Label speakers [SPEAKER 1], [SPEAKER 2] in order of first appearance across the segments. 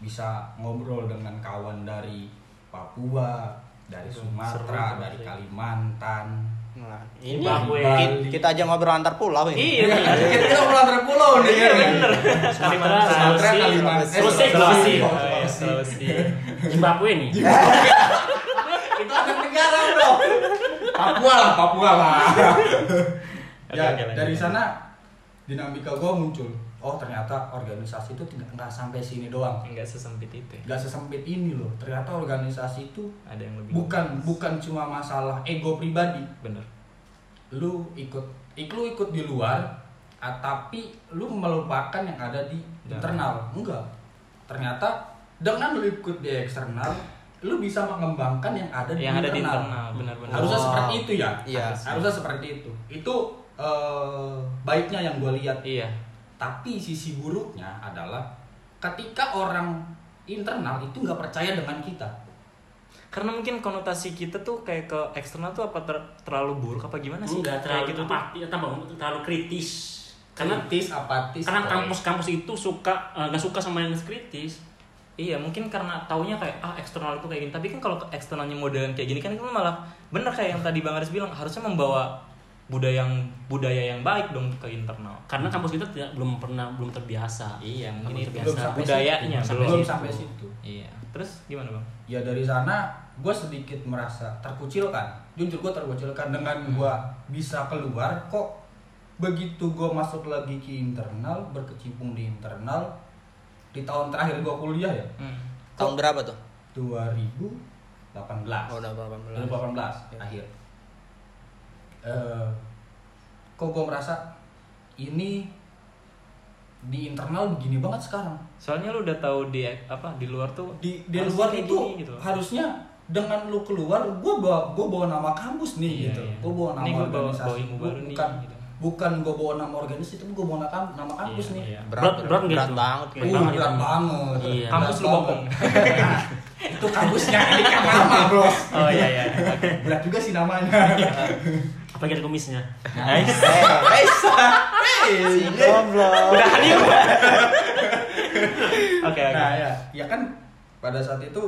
[SPEAKER 1] bisa ngobrol dengan kawan dari Papua, dari Sumatera,
[SPEAKER 2] Iya, seru
[SPEAKER 1] dari
[SPEAKER 2] sih.
[SPEAKER 1] Kalimantan.
[SPEAKER 3] Nah, ini
[SPEAKER 2] Bangwe.
[SPEAKER 3] ki- kita aja ngobrol antar pulau ini.
[SPEAKER 2] Iya bener.
[SPEAKER 1] Kita kita pulau antar pulau nih.
[SPEAKER 2] Iya bener.
[SPEAKER 1] Sumatera, Sumatera, Kalimantan, eh,
[SPEAKER 2] Sulawesi, Sulawesi.
[SPEAKER 1] Sulawesi.
[SPEAKER 4] Sulawesi.
[SPEAKER 2] Zimbabwe nih.
[SPEAKER 1] Itu ada negara bro. Papua lah, Papua lah.
[SPEAKER 4] Oke,
[SPEAKER 1] ya
[SPEAKER 4] oke, lanjut.
[SPEAKER 1] dari sana dinamika gue muncul. Oh ternyata organisasi itu tidak nggak sampai sini doang.
[SPEAKER 4] Enggak sesempit itu. ya.
[SPEAKER 1] Nggak sesempit ini loh. Ternyata organisasi itu
[SPEAKER 4] Ada yang lebih.
[SPEAKER 1] bukan bukan cuma masalah ego pribadi.
[SPEAKER 4] Bener.
[SPEAKER 1] Lu ikut, ik- lu ikut di luar, ah, tapi lu melupakan yang ada di
[SPEAKER 4] Dalam.
[SPEAKER 1] internal. Enggak. Ternyata dengan lu ikut di eksternal, lu bisa mengembangkan yang ada di
[SPEAKER 4] Yang ada di
[SPEAKER 1] internal.
[SPEAKER 4] internal, benar-benar.
[SPEAKER 1] Harusnya
[SPEAKER 3] Wow.
[SPEAKER 1] seperti itu ya.
[SPEAKER 3] Iya.
[SPEAKER 1] Harusnya seperti itu. Itu eh, baiknya yang gue lihat.
[SPEAKER 4] Iya.
[SPEAKER 1] Tapi sisi buruknya adalah ketika orang internal itu nggak percaya dengan kita.
[SPEAKER 4] Karena mungkin konotasi kita tuh kayak ke eksternal tuh apa ter- terlalu buruk apa gimana sih?
[SPEAKER 2] Enggak terlalu
[SPEAKER 4] Kayak gitu tuh.
[SPEAKER 2] apati, tambah terlalu kritis. Karena
[SPEAKER 1] kritis,
[SPEAKER 4] Iya,
[SPEAKER 1] apatis.
[SPEAKER 2] karena
[SPEAKER 1] toleran.
[SPEAKER 2] kampus-kampus itu suka eh, nggak suka sama yang kritis.
[SPEAKER 4] Iya, mungkin karena taunya kayak ah eksternal itu kayak gini. Tapi kan kalau ke- eksternalnya modelan kayak gini kan itu malah bener kayak yang tadi Bang Aris bilang harusnya membawa budaya yang budaya yang baik dong ke internal.
[SPEAKER 2] Karena kampus kita tidak belum pernah belum terbiasa.
[SPEAKER 4] Iya, mungkin
[SPEAKER 2] Belum
[SPEAKER 4] itu
[SPEAKER 2] terbiasa.
[SPEAKER 1] Belum
[SPEAKER 4] biasa
[SPEAKER 1] sampai
[SPEAKER 4] budayanya
[SPEAKER 2] situ.
[SPEAKER 4] belum.
[SPEAKER 1] belum sampai situ.
[SPEAKER 4] Iya. Terus gimana, Bang?
[SPEAKER 1] ya dari sana gue sedikit merasa terkucilkan jujur gue terkucilkan dengan gue bisa keluar kok begitu gue masuk lagi ke internal berkecimpung di internal di tahun terakhir gue kuliah ya
[SPEAKER 4] Hmm.
[SPEAKER 3] Tahun berapa tuh?
[SPEAKER 1] 2018
[SPEAKER 3] Oh, udah 18.
[SPEAKER 1] 2018 akhir Eh, kok gue merasa ini di internal begini banget sekarang
[SPEAKER 4] Soalnya lu udah tahu di apa di luar tuh
[SPEAKER 1] di di
[SPEAKER 4] harusnya
[SPEAKER 1] luar
[SPEAKER 4] kayak
[SPEAKER 1] itu
[SPEAKER 4] gini gitu.
[SPEAKER 1] harusnya dengan lu keluar gue bawa gue bawa nama kampus nih
[SPEAKER 4] Iya,
[SPEAKER 1] gitu
[SPEAKER 4] iya.
[SPEAKER 1] gue bawa nama
[SPEAKER 4] Ini gua bawa-
[SPEAKER 1] organisasi
[SPEAKER 4] bawa ilmu
[SPEAKER 1] Gua
[SPEAKER 4] baru nih,
[SPEAKER 1] bukan
[SPEAKER 4] gitu.
[SPEAKER 1] bukan gue bawa nama organisasi tapi gue bawa nama, kamp- nama kampus nih
[SPEAKER 2] Iya.
[SPEAKER 3] Berat,
[SPEAKER 2] Berat,
[SPEAKER 3] berat,
[SPEAKER 2] berat,
[SPEAKER 3] berat
[SPEAKER 2] gitu.
[SPEAKER 3] banget.
[SPEAKER 1] Uh,
[SPEAKER 2] Berat banget
[SPEAKER 1] berat
[SPEAKER 2] itu.
[SPEAKER 1] banget.
[SPEAKER 2] Iya.
[SPEAKER 1] Berat
[SPEAKER 4] Kampus lu
[SPEAKER 1] banget.
[SPEAKER 4] bokong.
[SPEAKER 1] itu kampusnya ini kan nama bro.
[SPEAKER 4] Oh iya iya.
[SPEAKER 1] Berat juga sih namanya.
[SPEAKER 2] Apalagi ada kumisnya.
[SPEAKER 4] Nice.
[SPEAKER 3] Si goblok.
[SPEAKER 4] Oke oke.
[SPEAKER 1] nah ya, ya kan pada saat itu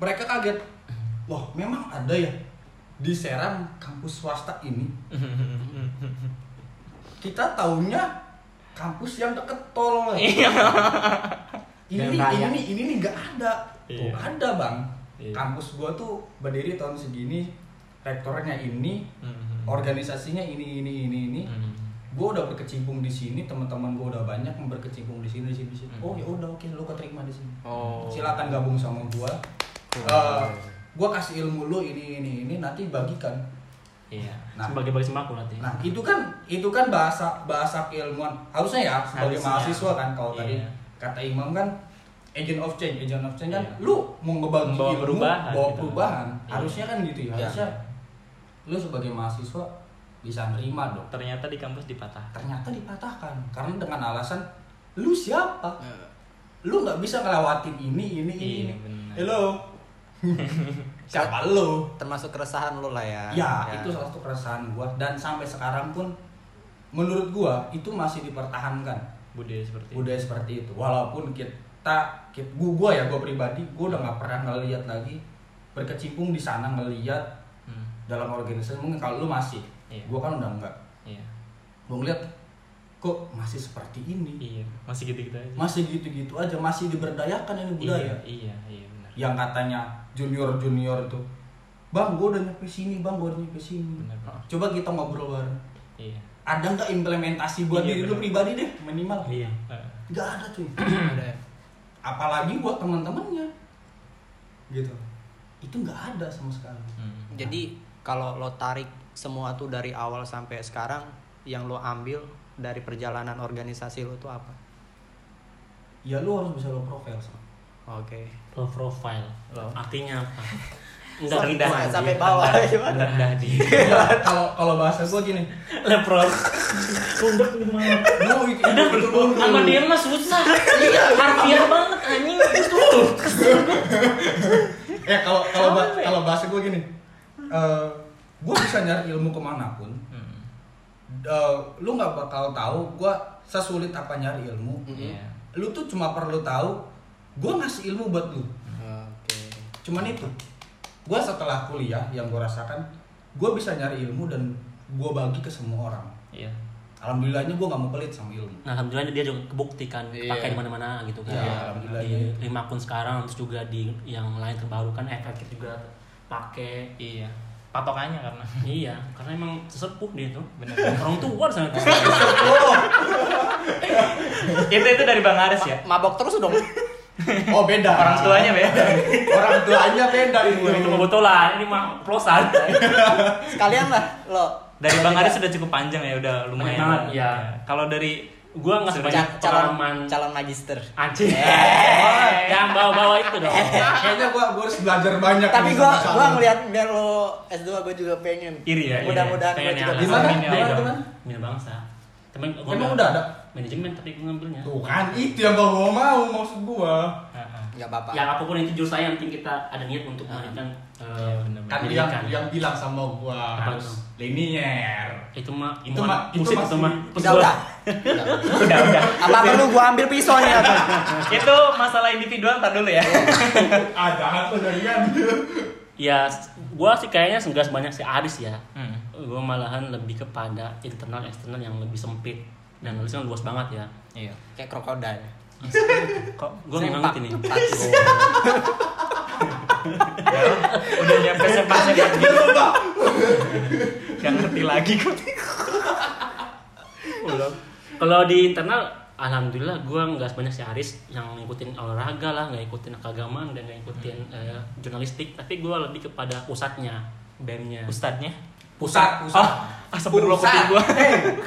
[SPEAKER 1] mereka kaget. Wah memang ada ya di Serang kampus swasta ini
[SPEAKER 4] Mm-hmm.
[SPEAKER 1] kita taunya kampus yang deket tol
[SPEAKER 4] Iya.
[SPEAKER 1] ini ini
[SPEAKER 3] Yang raya.
[SPEAKER 1] nih, ini nih nggak ada tuh
[SPEAKER 4] Iya.
[SPEAKER 1] ada bang
[SPEAKER 4] Iya.
[SPEAKER 1] kampus gua tuh berdiri tahun segini rektornya ini organisasinya ini ini ini ini
[SPEAKER 4] Hmm. Mm-hmm.
[SPEAKER 1] gua udah berkecimpung di sini teman-teman gua udah banyak yang berkecimpung di sini di sini, di
[SPEAKER 4] Hmm.
[SPEAKER 1] sini. oh ya udah oke lu keterima di sini
[SPEAKER 3] Oh.
[SPEAKER 1] silakan gabung sama gua
[SPEAKER 4] Oh.
[SPEAKER 1] Eh, gua kasih ilmu lu ini ini ini nanti bagikan
[SPEAKER 4] Iya.
[SPEAKER 1] nah
[SPEAKER 2] Sebagai bagi sembako nanti.
[SPEAKER 1] Nah, itu kan itu kan bahasa bahasa keilmuan. Harusnya ya sebagai
[SPEAKER 2] Harusnya.
[SPEAKER 1] mahasiswa kan kalau tadi
[SPEAKER 4] Iya.
[SPEAKER 1] kata Imam kan agent of change, agent of change kan
[SPEAKER 4] Iya.
[SPEAKER 1] lu mau ngebagi
[SPEAKER 4] Membawa
[SPEAKER 1] ilmu,
[SPEAKER 4] perubahan
[SPEAKER 1] bawa
[SPEAKER 4] gitu.
[SPEAKER 1] perubahan.
[SPEAKER 4] Iya.
[SPEAKER 1] Harusnya kan gitu ya.
[SPEAKER 3] Iya.
[SPEAKER 1] Harusnya lu sebagai mahasiswa bisa nerima dong. Nah,
[SPEAKER 4] Ternyata di kampus dipatah.
[SPEAKER 1] Ternyata dipatahkan karena dengan alasan lu siapa? Lu nggak bisa ngelewatin ini ini ini.
[SPEAKER 4] Iya,
[SPEAKER 1] ini.
[SPEAKER 4] benar.
[SPEAKER 1] Hello. siapa lu?
[SPEAKER 3] Termasuk keresahan lo lah
[SPEAKER 4] Kan?
[SPEAKER 3] ya.
[SPEAKER 1] Ya, itu salah satu keresahan gua dan sampai sekarang pun menurut gua itu masih dipertahankan
[SPEAKER 4] Budaya seperti itu.
[SPEAKER 1] budaya seperti itu. Walaupun kita, kita gua, gua ya gua pribadi gua udah nggak pernah ngeliat lagi berkecimpung di sana ngeliat
[SPEAKER 4] Hmm,
[SPEAKER 1] dalam organisasi mungkin kalau lu masih,
[SPEAKER 4] Iya.
[SPEAKER 1] gua kan udah nggak.
[SPEAKER 4] Iya.
[SPEAKER 1] Gua ngeliat kok masih seperti ini,
[SPEAKER 4] Iya, masih gitu-gitu aja.
[SPEAKER 1] masih ya? gitu-gitu aja, masih diberdayakan ini budaya.
[SPEAKER 4] Iya, iya, iya benar.
[SPEAKER 1] Yang katanya junior junior itu, bang gua udah nyampe sini, bang gua udah nyampe sini.
[SPEAKER 4] Benar, Bang.
[SPEAKER 1] Coba kita ngobrol bareng.
[SPEAKER 4] Iya.
[SPEAKER 1] ada nggak implementasi buat diri
[SPEAKER 4] Iya,
[SPEAKER 1] lu
[SPEAKER 4] bener.
[SPEAKER 1] pribadi deh minimal
[SPEAKER 2] Iya.
[SPEAKER 4] Eh,
[SPEAKER 1] nggak ada cuy
[SPEAKER 3] Ada ya?
[SPEAKER 1] apalagi buat teman-temannya gitu itu nggak ada sama sekali
[SPEAKER 4] hmm.
[SPEAKER 3] Jadi kalau lo tarik semua tuh dari awal sampai sekarang yang lo ambil dari perjalanan organisasi lo tuh apa?
[SPEAKER 1] ya lu harus bisa lo profil sama
[SPEAKER 3] Oke.
[SPEAKER 2] Low profile.
[SPEAKER 4] Low.
[SPEAKER 2] Artinya apa?
[SPEAKER 3] Sampai-
[SPEAKER 2] rendah
[SPEAKER 3] sampai-
[SPEAKER 2] aja.
[SPEAKER 3] sampai bawah.
[SPEAKER 2] Rendah-
[SPEAKER 3] Gimana?
[SPEAKER 2] Rendah di.
[SPEAKER 1] Iya, kalau kalau bahasa gua gini
[SPEAKER 2] Lepros. Tunduk gimana?
[SPEAKER 1] lu gitu, itu itu itu lu
[SPEAKER 2] Sama dia mah susah. Harfiah banget anjing itu.
[SPEAKER 1] ya kalau kalau ba- kalau bahasa gua gini Eh gua bisa nyari ilmu kemanapun
[SPEAKER 4] Hmm,
[SPEAKER 1] Eh, lu nggak bakal tahu gua sesulit apa nyari ilmu
[SPEAKER 4] Iya.
[SPEAKER 1] lu tuh cuma perlu tahu gue ngasih ilmu buat lu
[SPEAKER 3] Oke.
[SPEAKER 1] cuman itu gue setelah kuliah yang gue rasakan gue bisa nyari ilmu dan gue bagi ke semua orang
[SPEAKER 4] Iya.
[SPEAKER 1] alhamdulillahnya gue nggak mau pelit sama ilmu
[SPEAKER 2] Nah, alhamdulillah dia juga kebuktikan
[SPEAKER 3] Iya.
[SPEAKER 2] pakai di mana-mana gitu kan.
[SPEAKER 1] Iya, alhamdulillah.
[SPEAKER 2] Di lima akun sekarang terus juga di yang lain kan, terbarukan efektif juga pakai.
[SPEAKER 4] Iya. Patokannya karena
[SPEAKER 2] iya, karena emang sesepuh dia tuh.
[SPEAKER 4] Bener.
[SPEAKER 2] Orang tua di sana.
[SPEAKER 4] itu itu dari Bang Aris ya.
[SPEAKER 3] Mabok terus dong.
[SPEAKER 1] oh beda
[SPEAKER 4] Orang tuanya beda.
[SPEAKER 1] orang tuanya beda itu
[SPEAKER 2] itu kebetulan ini mah plosan.
[SPEAKER 3] Sekalian lah lo.
[SPEAKER 4] Dari Bang Aris sudah cukup panjang ya, udah lumayan.
[SPEAKER 2] Lumayan banget, iya.
[SPEAKER 4] Kalau dari
[SPEAKER 2] Gua nggak sebanyak
[SPEAKER 3] Ca-
[SPEAKER 2] pengalaman
[SPEAKER 3] calon calon magister.
[SPEAKER 2] anjing.
[SPEAKER 4] Eh.
[SPEAKER 2] Jangan bawa-bawa itu dong.
[SPEAKER 1] kayaknya gue harus belajar banyak
[SPEAKER 3] Tapi
[SPEAKER 4] Iya,
[SPEAKER 1] nih
[SPEAKER 3] gua
[SPEAKER 1] sama
[SPEAKER 3] gua
[SPEAKER 1] kamu.
[SPEAKER 3] ngeliat biar lo S2 gua juga pengen.
[SPEAKER 4] Iri ya, iri ya.
[SPEAKER 3] Mudah-mudahan gua
[SPEAKER 2] Pengen
[SPEAKER 3] juga
[SPEAKER 2] yang
[SPEAKER 1] di mana
[SPEAKER 2] Amin,
[SPEAKER 1] di
[SPEAKER 2] ya,
[SPEAKER 1] mana
[SPEAKER 2] dong.
[SPEAKER 1] teman
[SPEAKER 2] Mina bangsa. Temen gua
[SPEAKER 1] Emang
[SPEAKER 2] nggak-
[SPEAKER 1] udah ada?
[SPEAKER 2] Manajemen tapi gue ngambilnya.
[SPEAKER 1] tuh kan itu yang gue mau mau maksud gue
[SPEAKER 3] Enggak apa-apa.
[SPEAKER 2] Ya apapun itu jurus saya yang penting kita ada niat untuk
[SPEAKER 3] Ah.
[SPEAKER 2] melanjutkan eh,
[SPEAKER 4] Iya, benar-benar.
[SPEAKER 1] kan
[SPEAKER 2] pendidikan.
[SPEAKER 1] yang yang bilang sama gue
[SPEAKER 2] Apa
[SPEAKER 1] harus
[SPEAKER 2] tuh?
[SPEAKER 1] linier
[SPEAKER 2] itu mah
[SPEAKER 1] Itu
[SPEAKER 2] mohon
[SPEAKER 1] mah- itu
[SPEAKER 2] musik
[SPEAKER 1] masih-
[SPEAKER 2] itu mah
[SPEAKER 3] Udah udah.
[SPEAKER 4] udah udah.
[SPEAKER 3] Apa perlu gua ambil pisaunya?
[SPEAKER 4] itu masalah individual ntar dulu ya.
[SPEAKER 1] ada aku dari kan
[SPEAKER 2] ya s- gua sih kayaknya enggak sebanyak si Aris ya
[SPEAKER 4] Hmm.
[SPEAKER 2] gua malahan lebih kepada internal eksternal yang lebih sempit dan Aris kan luas banget ya
[SPEAKER 4] Iya.
[SPEAKER 3] Kayak krokodil.
[SPEAKER 4] Kok
[SPEAKER 2] gua nggak
[SPEAKER 3] Sempak.
[SPEAKER 2] ngerti nih
[SPEAKER 3] Pacu.
[SPEAKER 4] udah nyampe sepak-sepak gitu. Gak ngerti lagi kok.
[SPEAKER 2] kalau di internal alhamdulillah gua nggak sebanyak si Aris yang ngikutin olahraga lah nggak ngikutin keagamaan dan nggak ngikutin
[SPEAKER 4] Hmm.
[SPEAKER 2] eh, jurnalistik tapi gua lebih kepada pusatnya BEM-nya
[SPEAKER 4] Ustadznya.
[SPEAKER 1] pusat
[SPEAKER 4] Oh,
[SPEAKER 1] pusat
[SPEAKER 4] Asap berdua kuping gua.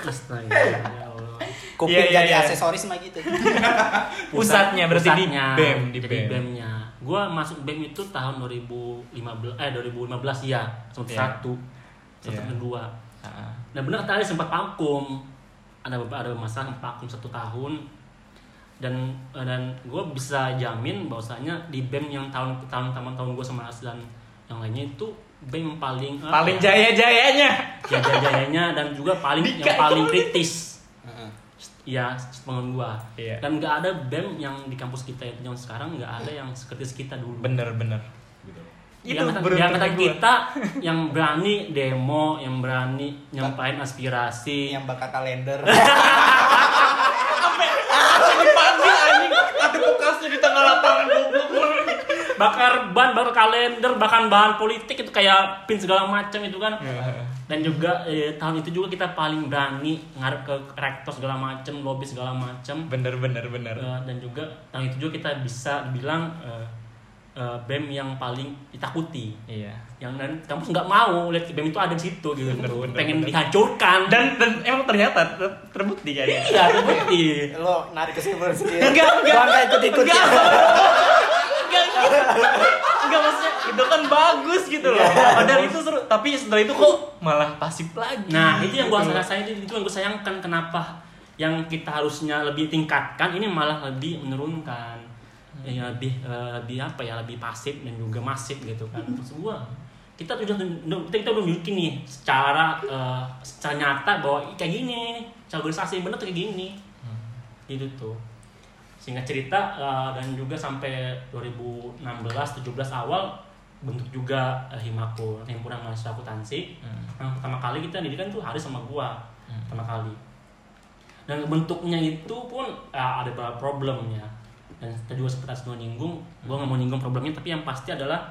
[SPEAKER 2] Astaga, ya Allah.
[SPEAKER 3] Kuping
[SPEAKER 4] Iya, iya,
[SPEAKER 3] jadi
[SPEAKER 4] iya.
[SPEAKER 3] aksesoris mah gitu.
[SPEAKER 4] Pusatnya, berarti di
[SPEAKER 2] pusatnya.
[SPEAKER 4] BEM, di
[SPEAKER 2] jadi
[SPEAKER 4] BEM.
[SPEAKER 2] BEM-nya. Gua masuk BEM itu tahun 2015 eh 2015 ya, semester
[SPEAKER 4] Iya.
[SPEAKER 2] 1. Semester
[SPEAKER 4] Iya.
[SPEAKER 2] kedua.
[SPEAKER 4] Ah.
[SPEAKER 2] Nah, benar tadi sempat vakum. Ada beberapa ada masalah sempat vakum satu tahun. Dan dan gue bisa jamin bahwasanya di BEM yang tahun tahun tahun tahun gue sama Aras dan yang lainnya itu BEM yang paling apa
[SPEAKER 4] Paling
[SPEAKER 2] ya,
[SPEAKER 4] jaya-jayanya.
[SPEAKER 2] jaya-jayanya dan juga paling yang
[SPEAKER 4] Dika,
[SPEAKER 2] paling
[SPEAKER 4] itu.
[SPEAKER 2] kritis.
[SPEAKER 3] Heeh.
[SPEAKER 2] Iya, pengen gua.
[SPEAKER 4] Iya.
[SPEAKER 2] Dan nggak ada BEM yang di kampus kita yang sekarang nggak ada yang sekritis kita dulu.
[SPEAKER 4] Bener-bener.
[SPEAKER 2] Yang kata- yang kata kita yang berani demo, yang berani nyampain aspirasi.
[SPEAKER 3] Yang bakal kalender. ya? Ah,
[SPEAKER 4] dipanggil anjing ada bekasnya di tengah lapangan goblok
[SPEAKER 2] bakar ban, bakar kalender, bahkan bahan politik itu kayak pin segala macam itu kan. Dan juga eh, tahun itu juga kita paling berani ngarep ke rektor segala macam, lobby segala macam.
[SPEAKER 4] bener bener bener
[SPEAKER 2] Eh, dan juga tahun itu juga kita bisa dibilang eh, eh, BEM yang paling ditakuti
[SPEAKER 4] iya
[SPEAKER 2] yang dan kampus nggak mau lihat BEM itu ada di situ gitu
[SPEAKER 4] Bener, bener,
[SPEAKER 2] pengen
[SPEAKER 4] bener.
[SPEAKER 2] dihancurkan
[SPEAKER 4] dan, dan emang ternyata ter- terbukti kan ya
[SPEAKER 2] iya terbukti
[SPEAKER 3] Lo narik kesimpulan sendiri.
[SPEAKER 4] Enggak, enggak.
[SPEAKER 3] Gua nggak ikut-ikut. ya.
[SPEAKER 4] enggak enggak enggak. enggak maksudnya itu kan bagus gitu loh padahal itu seru tapi setelah itu kok malah pasif lagi
[SPEAKER 2] nah itu yang gua
[SPEAKER 4] Gitu.
[SPEAKER 2] rasain itu, itu yang gua sayangkan kenapa yang kita harusnya lebih tingkatkan ini malah lebih menurunkan
[SPEAKER 4] Hmm.
[SPEAKER 2] ya, lebih eh, lebih apa ya lebih pasif dan juga masif gitu kan
[SPEAKER 4] Hmm.
[SPEAKER 2] terus gua kita udah kita, kita udah miliki nih secara eh, secara nyata bahwa "Ih, kayak gini cara organisasi yang bener tuh kayak gini
[SPEAKER 4] Hmm.
[SPEAKER 2] gitu tuh sehingga cerita eh, dan juga sampai 2016 17 awal bentuk juga eh, himaku himpunan mahasiswa akuntansi yang
[SPEAKER 4] Hmm.
[SPEAKER 2] pertama kali kita didikan tuh Haris sama gua pertama kali dan bentuknya itu pun eh, ada beberapa problemnya dan tadi juga sempat Hasnul nyinggung
[SPEAKER 4] Hmm.
[SPEAKER 2] gua nggak mau nyinggung problemnya tapi yang pasti adalah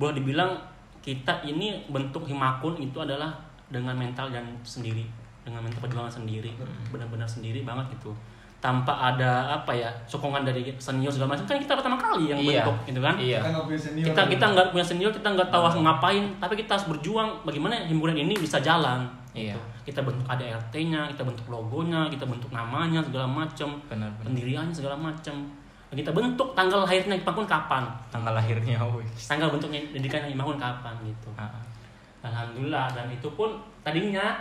[SPEAKER 2] boleh dibilang kita ini bentuk himakun itu adalah dengan mental dan sendiri dengan mental perjuangan sendiri
[SPEAKER 4] Hmm.
[SPEAKER 2] benar-benar sendiri banget gitu tanpa ada apa ya sokongan dari senior segala macam kan kita pertama kali yang
[SPEAKER 4] Iya.
[SPEAKER 2] bentuk gitu kan
[SPEAKER 4] iya
[SPEAKER 1] nggak punya senior
[SPEAKER 2] kita kita nggak punya senior kita nggak tahu harus ngapain tapi kita harus berjuang bagaimana himpunan ini bisa jalan
[SPEAKER 4] Iya.
[SPEAKER 2] gitu. kita bentuk ada rt-nya kita bentuk logonya kita bentuk namanya segala macam
[SPEAKER 4] bener bener
[SPEAKER 2] pendiriannya segala macam Dan kita bentuk tanggal lahirnya Imahun kapan
[SPEAKER 4] tanggal lahirnya woi
[SPEAKER 2] tanggal bentuknya pendidikan Imahun kapan gitu
[SPEAKER 4] Ah, ah.
[SPEAKER 2] alhamdulillah dan itu pun tadinya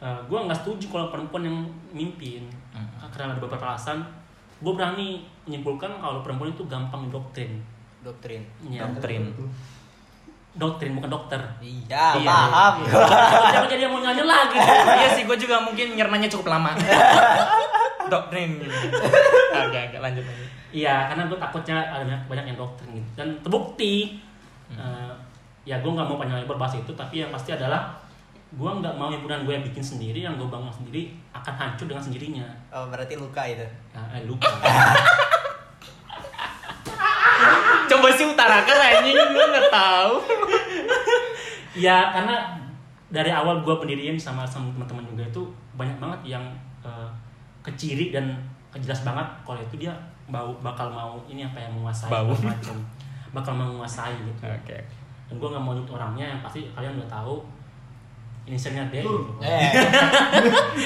[SPEAKER 2] gue nggak setuju kalau perempuan yang mimpin
[SPEAKER 4] Hmm.
[SPEAKER 2] karena ada beberapa alasan gue berani menyimpulkan kalau perempuan itu gampang doktrin
[SPEAKER 3] Doktrin.
[SPEAKER 2] ya,
[SPEAKER 4] doktrin
[SPEAKER 2] doktrin bukan dokter
[SPEAKER 3] Iya,
[SPEAKER 4] Iya.
[SPEAKER 3] paham.
[SPEAKER 2] Jangan jadi yang mau nyanyi lagi.
[SPEAKER 4] iya sih gue juga mungkin nyernanya cukup lama doktrin gitu. Oke, oke, lanjut lanjut.
[SPEAKER 2] Iya, karena gue takutnya ada banyak, banyak yang doktrin gitu. Dan terbukti,
[SPEAKER 4] Hmm.
[SPEAKER 2] eh, ya gue nggak mau panjang lebar bahas itu, tapi yang pasti adalah gue nggak mau himpunan gue yang bikin sendiri, yang gue bangun sendiri akan hancur dengan sendirinya.
[SPEAKER 5] Oh, berarti luka itu.
[SPEAKER 2] Ya,
[SPEAKER 4] Ah,
[SPEAKER 2] eh, lupa.
[SPEAKER 4] Coba sih utarakan anjing lu enggak tahu.
[SPEAKER 2] ya karena dari awal gue pendirian sama sama teman-teman juga itu banyak banget yang eh, keciri dan jelas banget kalau itu dia bau bakal mau ini apa yang menguasai
[SPEAKER 4] Bau.
[SPEAKER 2] segala macam bakal mau menguasai gitu
[SPEAKER 4] Oke.
[SPEAKER 2] dan gue nggak mau nyebut orangnya yang pasti kalian udah tahu inisialnya D gitu.
[SPEAKER 5] Eh,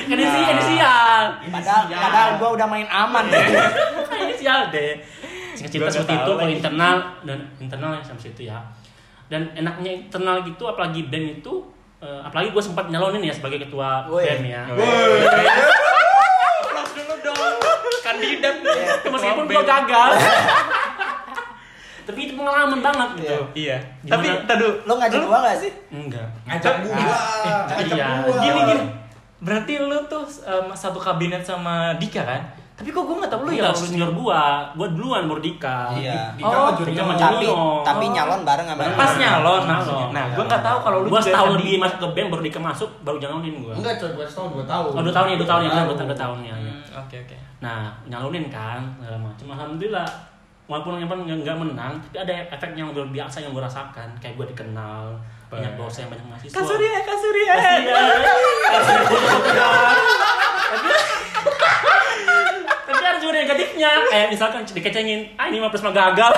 [SPEAKER 2] kan inisial inisial
[SPEAKER 3] Padahal, padahal gue udah main aman.
[SPEAKER 2] Kan inisial D singkat cerita
[SPEAKER 4] Gua
[SPEAKER 2] seperti
[SPEAKER 4] nggak
[SPEAKER 2] itu
[SPEAKER 4] tahu
[SPEAKER 2] kalau
[SPEAKER 4] lagi.
[SPEAKER 2] internal dan internal yang sampai situ ya dan enaknya internal gitu apalagi band itu eh, apalagi gue sempat nyalonin ya sebagai ketua
[SPEAKER 5] Woi.
[SPEAKER 2] band ya
[SPEAKER 4] Plus dulu dong. Kandidat.
[SPEAKER 2] meskipun gue gagal tapi itu pengalaman banget gitu
[SPEAKER 4] Iya.
[SPEAKER 2] Gimana?
[SPEAKER 4] Tapi tadu
[SPEAKER 5] lo ngajak gua gak sih?
[SPEAKER 2] enggak
[SPEAKER 1] Ngajak gua, ngajak
[SPEAKER 2] iya.
[SPEAKER 1] gua.
[SPEAKER 4] gini gini. Berarti lu tuh
[SPEAKER 2] eh,
[SPEAKER 4] um, satu kabinet sama Dika kan? Tapi kok gue nggak tahu
[SPEAKER 2] lu
[SPEAKER 4] lu
[SPEAKER 2] ya
[SPEAKER 4] ya
[SPEAKER 2] harus
[SPEAKER 4] lu-
[SPEAKER 2] senior gua gua duluan baru Dika
[SPEAKER 5] Iya.
[SPEAKER 1] Di
[SPEAKER 4] Oh,
[SPEAKER 1] kamar junior.
[SPEAKER 2] Dika sama
[SPEAKER 5] Tapi
[SPEAKER 2] Junior. Oh.
[SPEAKER 5] tapi nyalon bareng sama dia.
[SPEAKER 4] pas nyalon
[SPEAKER 2] Nyalon.
[SPEAKER 4] maksudnya. Nah, gue nggak tahu kalau lu
[SPEAKER 2] gua
[SPEAKER 4] juga
[SPEAKER 2] setahun
[SPEAKER 4] tadi-
[SPEAKER 2] lebih masuk ke band baru Dika masuk baru nyalonin gua
[SPEAKER 1] Enggak, coy, gua setahun 2 tahun.
[SPEAKER 2] oh dua tahun ya dua tahun ya benar benar dua tahun ya
[SPEAKER 4] Hmm, Oke oke.
[SPEAKER 2] nah nyalonin kan segala macam alhamdulillah walaupun yang pun nggak menang tapi ada efek yang luar biasa yang gua rasakan kayak gua dikenal banyak dosen banyak mahasiswa
[SPEAKER 4] Kasuria, Kasuria.
[SPEAKER 2] Tapi ada juga negatifnya Kayak misalkan dikecengin Ah ini mah Prisma gagal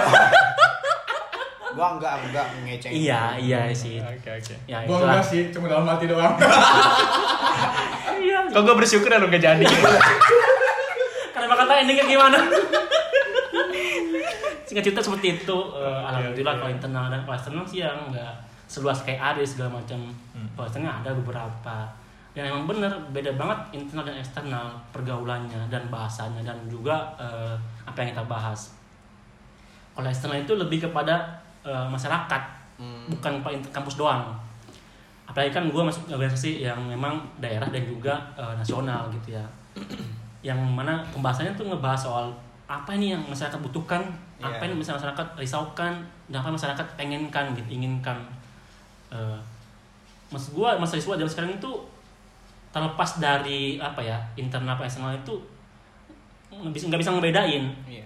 [SPEAKER 5] Gua enggak enggak ngeceng.
[SPEAKER 2] Iya iya sih
[SPEAKER 4] Oke oke.
[SPEAKER 2] Ya
[SPEAKER 1] Gua
[SPEAKER 2] itulah
[SPEAKER 1] enggak sih, cuma dalam hati doang.
[SPEAKER 2] Iya
[SPEAKER 4] Kok gue bersyukur ya lu nggak jadi.
[SPEAKER 2] Karena bakal tau endingnya gimana Singkat cerita seperti itu eh, Alhamdulillah
[SPEAKER 4] iya.
[SPEAKER 2] kalau internal dan kalau eksternal sih yang nggak Seluas kayak Aris segala macam
[SPEAKER 4] Hmm.
[SPEAKER 2] Kalau eksternal ada beberapa dan emang bener beda banget internal dan eksternal pergaulannya dan bahasanya dan juga eh, apa yang kita bahas kalau eksternal itu lebih kepada eh, masyarakat bukan pak inter- kampus doang apalagi kan gue masuk organisasi yang memang daerah dan juga eh, nasional gitu ya yang mana pembahasannya tuh ngebahas soal apa nih yang masyarakat butuhkan
[SPEAKER 5] Iya.
[SPEAKER 2] apa yang bisa masyarakat risaukan dan apa yang masyarakat pengenkan gitu inginkan Eh, mas gue mas siswa zaman sekarang itu terlepas dari apa ya internal apa eksternal itu nggak bisa nggak bisa ngebedain
[SPEAKER 5] Iya.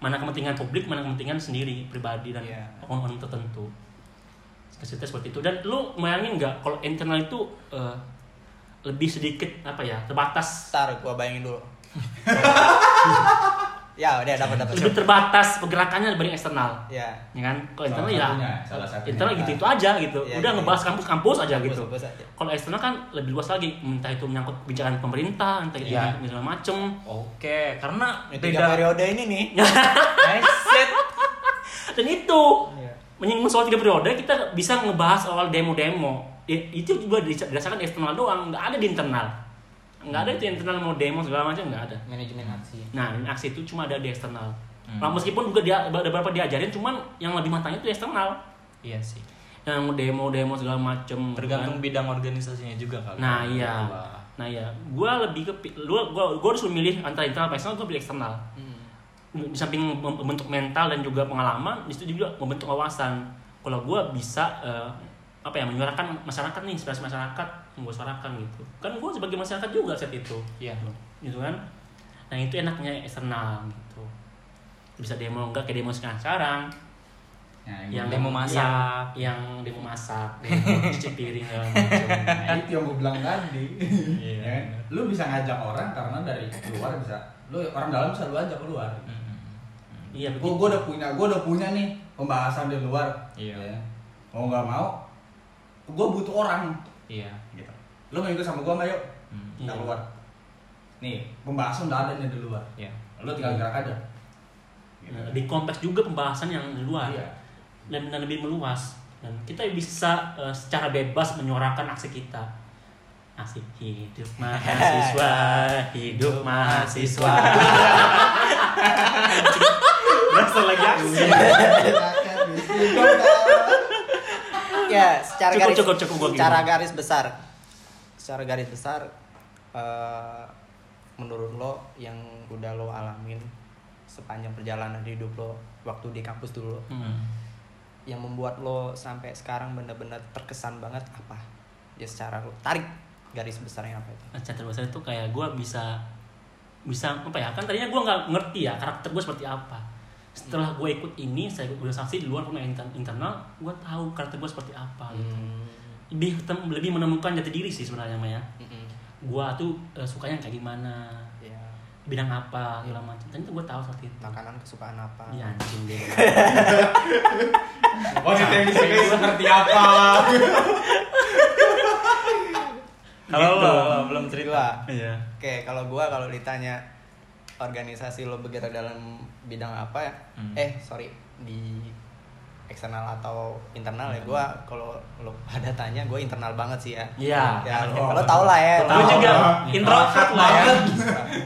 [SPEAKER 2] mana kepentingan publik mana kepentingan sendiri pribadi dan
[SPEAKER 5] Iya.
[SPEAKER 2] orang-orang tertentu Kesulitan seperti itu dan lu bayangin nggak kalau internal itu eh, lebih sedikit apa ya terbatas
[SPEAKER 5] Ntar gua bayangin dulu. ya, udah dapat dapat.
[SPEAKER 2] lebih terbatas pergerakannya dibanding eksternal
[SPEAKER 5] Ya.
[SPEAKER 2] ya kan kalau
[SPEAKER 1] Salah
[SPEAKER 2] internal ya
[SPEAKER 1] satunya, salah satunya.
[SPEAKER 2] internal gitu itu aja gitu
[SPEAKER 5] Iya,
[SPEAKER 2] udah
[SPEAKER 5] iya,
[SPEAKER 2] ngebahas
[SPEAKER 5] iya.
[SPEAKER 2] kampus-kampus aja gitu
[SPEAKER 5] Kampus-kampus aja.
[SPEAKER 2] kalau eksternal kan lebih luas lagi entah itu menyangkut kebijakan pemerintah entah itu
[SPEAKER 4] Iya.
[SPEAKER 2] menyangkut segala macem Nah,
[SPEAKER 4] Oke, karena
[SPEAKER 5] Ini tiga
[SPEAKER 4] beda
[SPEAKER 5] periode ini nih.
[SPEAKER 4] mindset.
[SPEAKER 2] dan itu menyinggung soal tiga periode kita bisa ngebahas soal demo-demo Ya, itu juga dis- dirasakan di eksternal doang nggak ada di internal nggak ada itu internal mau demo segala macam nggak ada
[SPEAKER 5] Manajemen aksi.
[SPEAKER 2] nah ini aksi itu cuma ada di eksternal
[SPEAKER 4] Hmm.
[SPEAKER 2] Nah, meskipun juga dia ada beberapa diajarin cuman yang lebih matangnya itu di eksternal
[SPEAKER 4] Iya sih.
[SPEAKER 2] yang demo-demo segala macam
[SPEAKER 4] Tergantung bidang organisasinya juga kali.
[SPEAKER 2] Nah iya,
[SPEAKER 4] Wah.
[SPEAKER 2] nah iya, gue lebih ke lu gue gue disuruh milih antara internal apa eksternal, gue pilih eksternal.
[SPEAKER 4] Hmm.
[SPEAKER 2] Di samping mem- membentuk mental dan juga pengalaman, di situ juga membentuk wawasan. Kalau gue bisa eh, apa ya menyuarakan masyarakat nih, inspirasi masyarakat yang gue suarakan gitu. Kan gue sebagai masyarakat juga saat itu,
[SPEAKER 4] Iya.
[SPEAKER 2] gitu kan. Nah itu enaknya eksternal gitu. Bisa demo enggak kayak demo sekarang sekarang,
[SPEAKER 1] Nah,
[SPEAKER 2] yang Iya,
[SPEAKER 4] demo masak.
[SPEAKER 2] yang, yang demo masak, demo cuci piring segala macam.
[SPEAKER 1] Nah, itu yang gue bilang tadi.
[SPEAKER 4] Iya,
[SPEAKER 1] Ya kan? Lu bisa ngajak orang karena dari luar bisa. Lu orang dalam bisa lu ajak keluar.
[SPEAKER 2] Iya
[SPEAKER 1] Gue
[SPEAKER 2] begitu.
[SPEAKER 1] gue udah punya, gue udah punya nih pembahasan di luar.
[SPEAKER 4] Iya.
[SPEAKER 1] Ya. Mau nggak mau, gue butuh orang.
[SPEAKER 4] Iya.
[SPEAKER 1] Gitu. Lu mau ikut sama gue nggak yuk?
[SPEAKER 4] Hmm.
[SPEAKER 1] Kita
[SPEAKER 2] Iya.
[SPEAKER 1] keluar. Nih pembahasan udah ada nih di luar.
[SPEAKER 4] Iya.
[SPEAKER 1] Lu tinggal gerak aja. Gitu.
[SPEAKER 2] Nah, lebih kompleks juga pembahasan yang di luar
[SPEAKER 1] Iya.
[SPEAKER 2] dan, dan lebih meluas dan kita bisa eh, secara bebas menyuarakan aksi kita asik hidup mahasiswa hidup mahasiswa
[SPEAKER 4] Berasa lagi aksi.
[SPEAKER 5] ya secara
[SPEAKER 2] Cukup,
[SPEAKER 5] garis
[SPEAKER 2] cukup, cukup, gua
[SPEAKER 5] secara
[SPEAKER 2] gimana?
[SPEAKER 5] garis besar secara garis besar eh,
[SPEAKER 3] menurut lo yang udah lo alamin sepanjang perjalanan hidup lo waktu di kampus dulu
[SPEAKER 2] Hmm.
[SPEAKER 3] yang membuat lo sampai sekarang bener-bener terkesan banget apa ya secara lo tarik garis besarnya apa itu
[SPEAKER 2] Acara terbesar itu kayak gue bisa bisa apa ya kan tadinya gue nggak ngerti ya karakter gue seperti apa setelah gue ikut ini saya udah saksi di luar pemain internal gue tahu karakter gue seperti apa gitu.
[SPEAKER 5] Hmm.
[SPEAKER 2] lebih tem- lebih menemukan jati diri sih sebenarnya Maya
[SPEAKER 3] Mm-mm.
[SPEAKER 2] gue tuh eh, sukanya kayak gimana
[SPEAKER 3] ya
[SPEAKER 2] bidang apa segala macam dan itu gue tahu seperti itu
[SPEAKER 3] makanan kesukaan apa
[SPEAKER 2] Iya anjing deh
[SPEAKER 4] Oh,
[SPEAKER 1] Wanita yang disukai seperti apa?
[SPEAKER 3] kalau
[SPEAKER 4] Gitu.
[SPEAKER 3] lo belum cerita
[SPEAKER 2] iya
[SPEAKER 3] oke kalau gua kalau ditanya organisasi lo bergerak dalam bidang apa ya
[SPEAKER 4] Hmm.
[SPEAKER 3] eh sorry di eksternal atau internal ya
[SPEAKER 4] Mm.
[SPEAKER 3] gua kalau lo pada tanya gue internal banget sih ya
[SPEAKER 2] Iya.
[SPEAKER 3] ya
[SPEAKER 1] Oh,
[SPEAKER 3] lo tau lah ya
[SPEAKER 4] Gue juga
[SPEAKER 1] Tahu.
[SPEAKER 4] introvert lah ya.
[SPEAKER 1] Banget.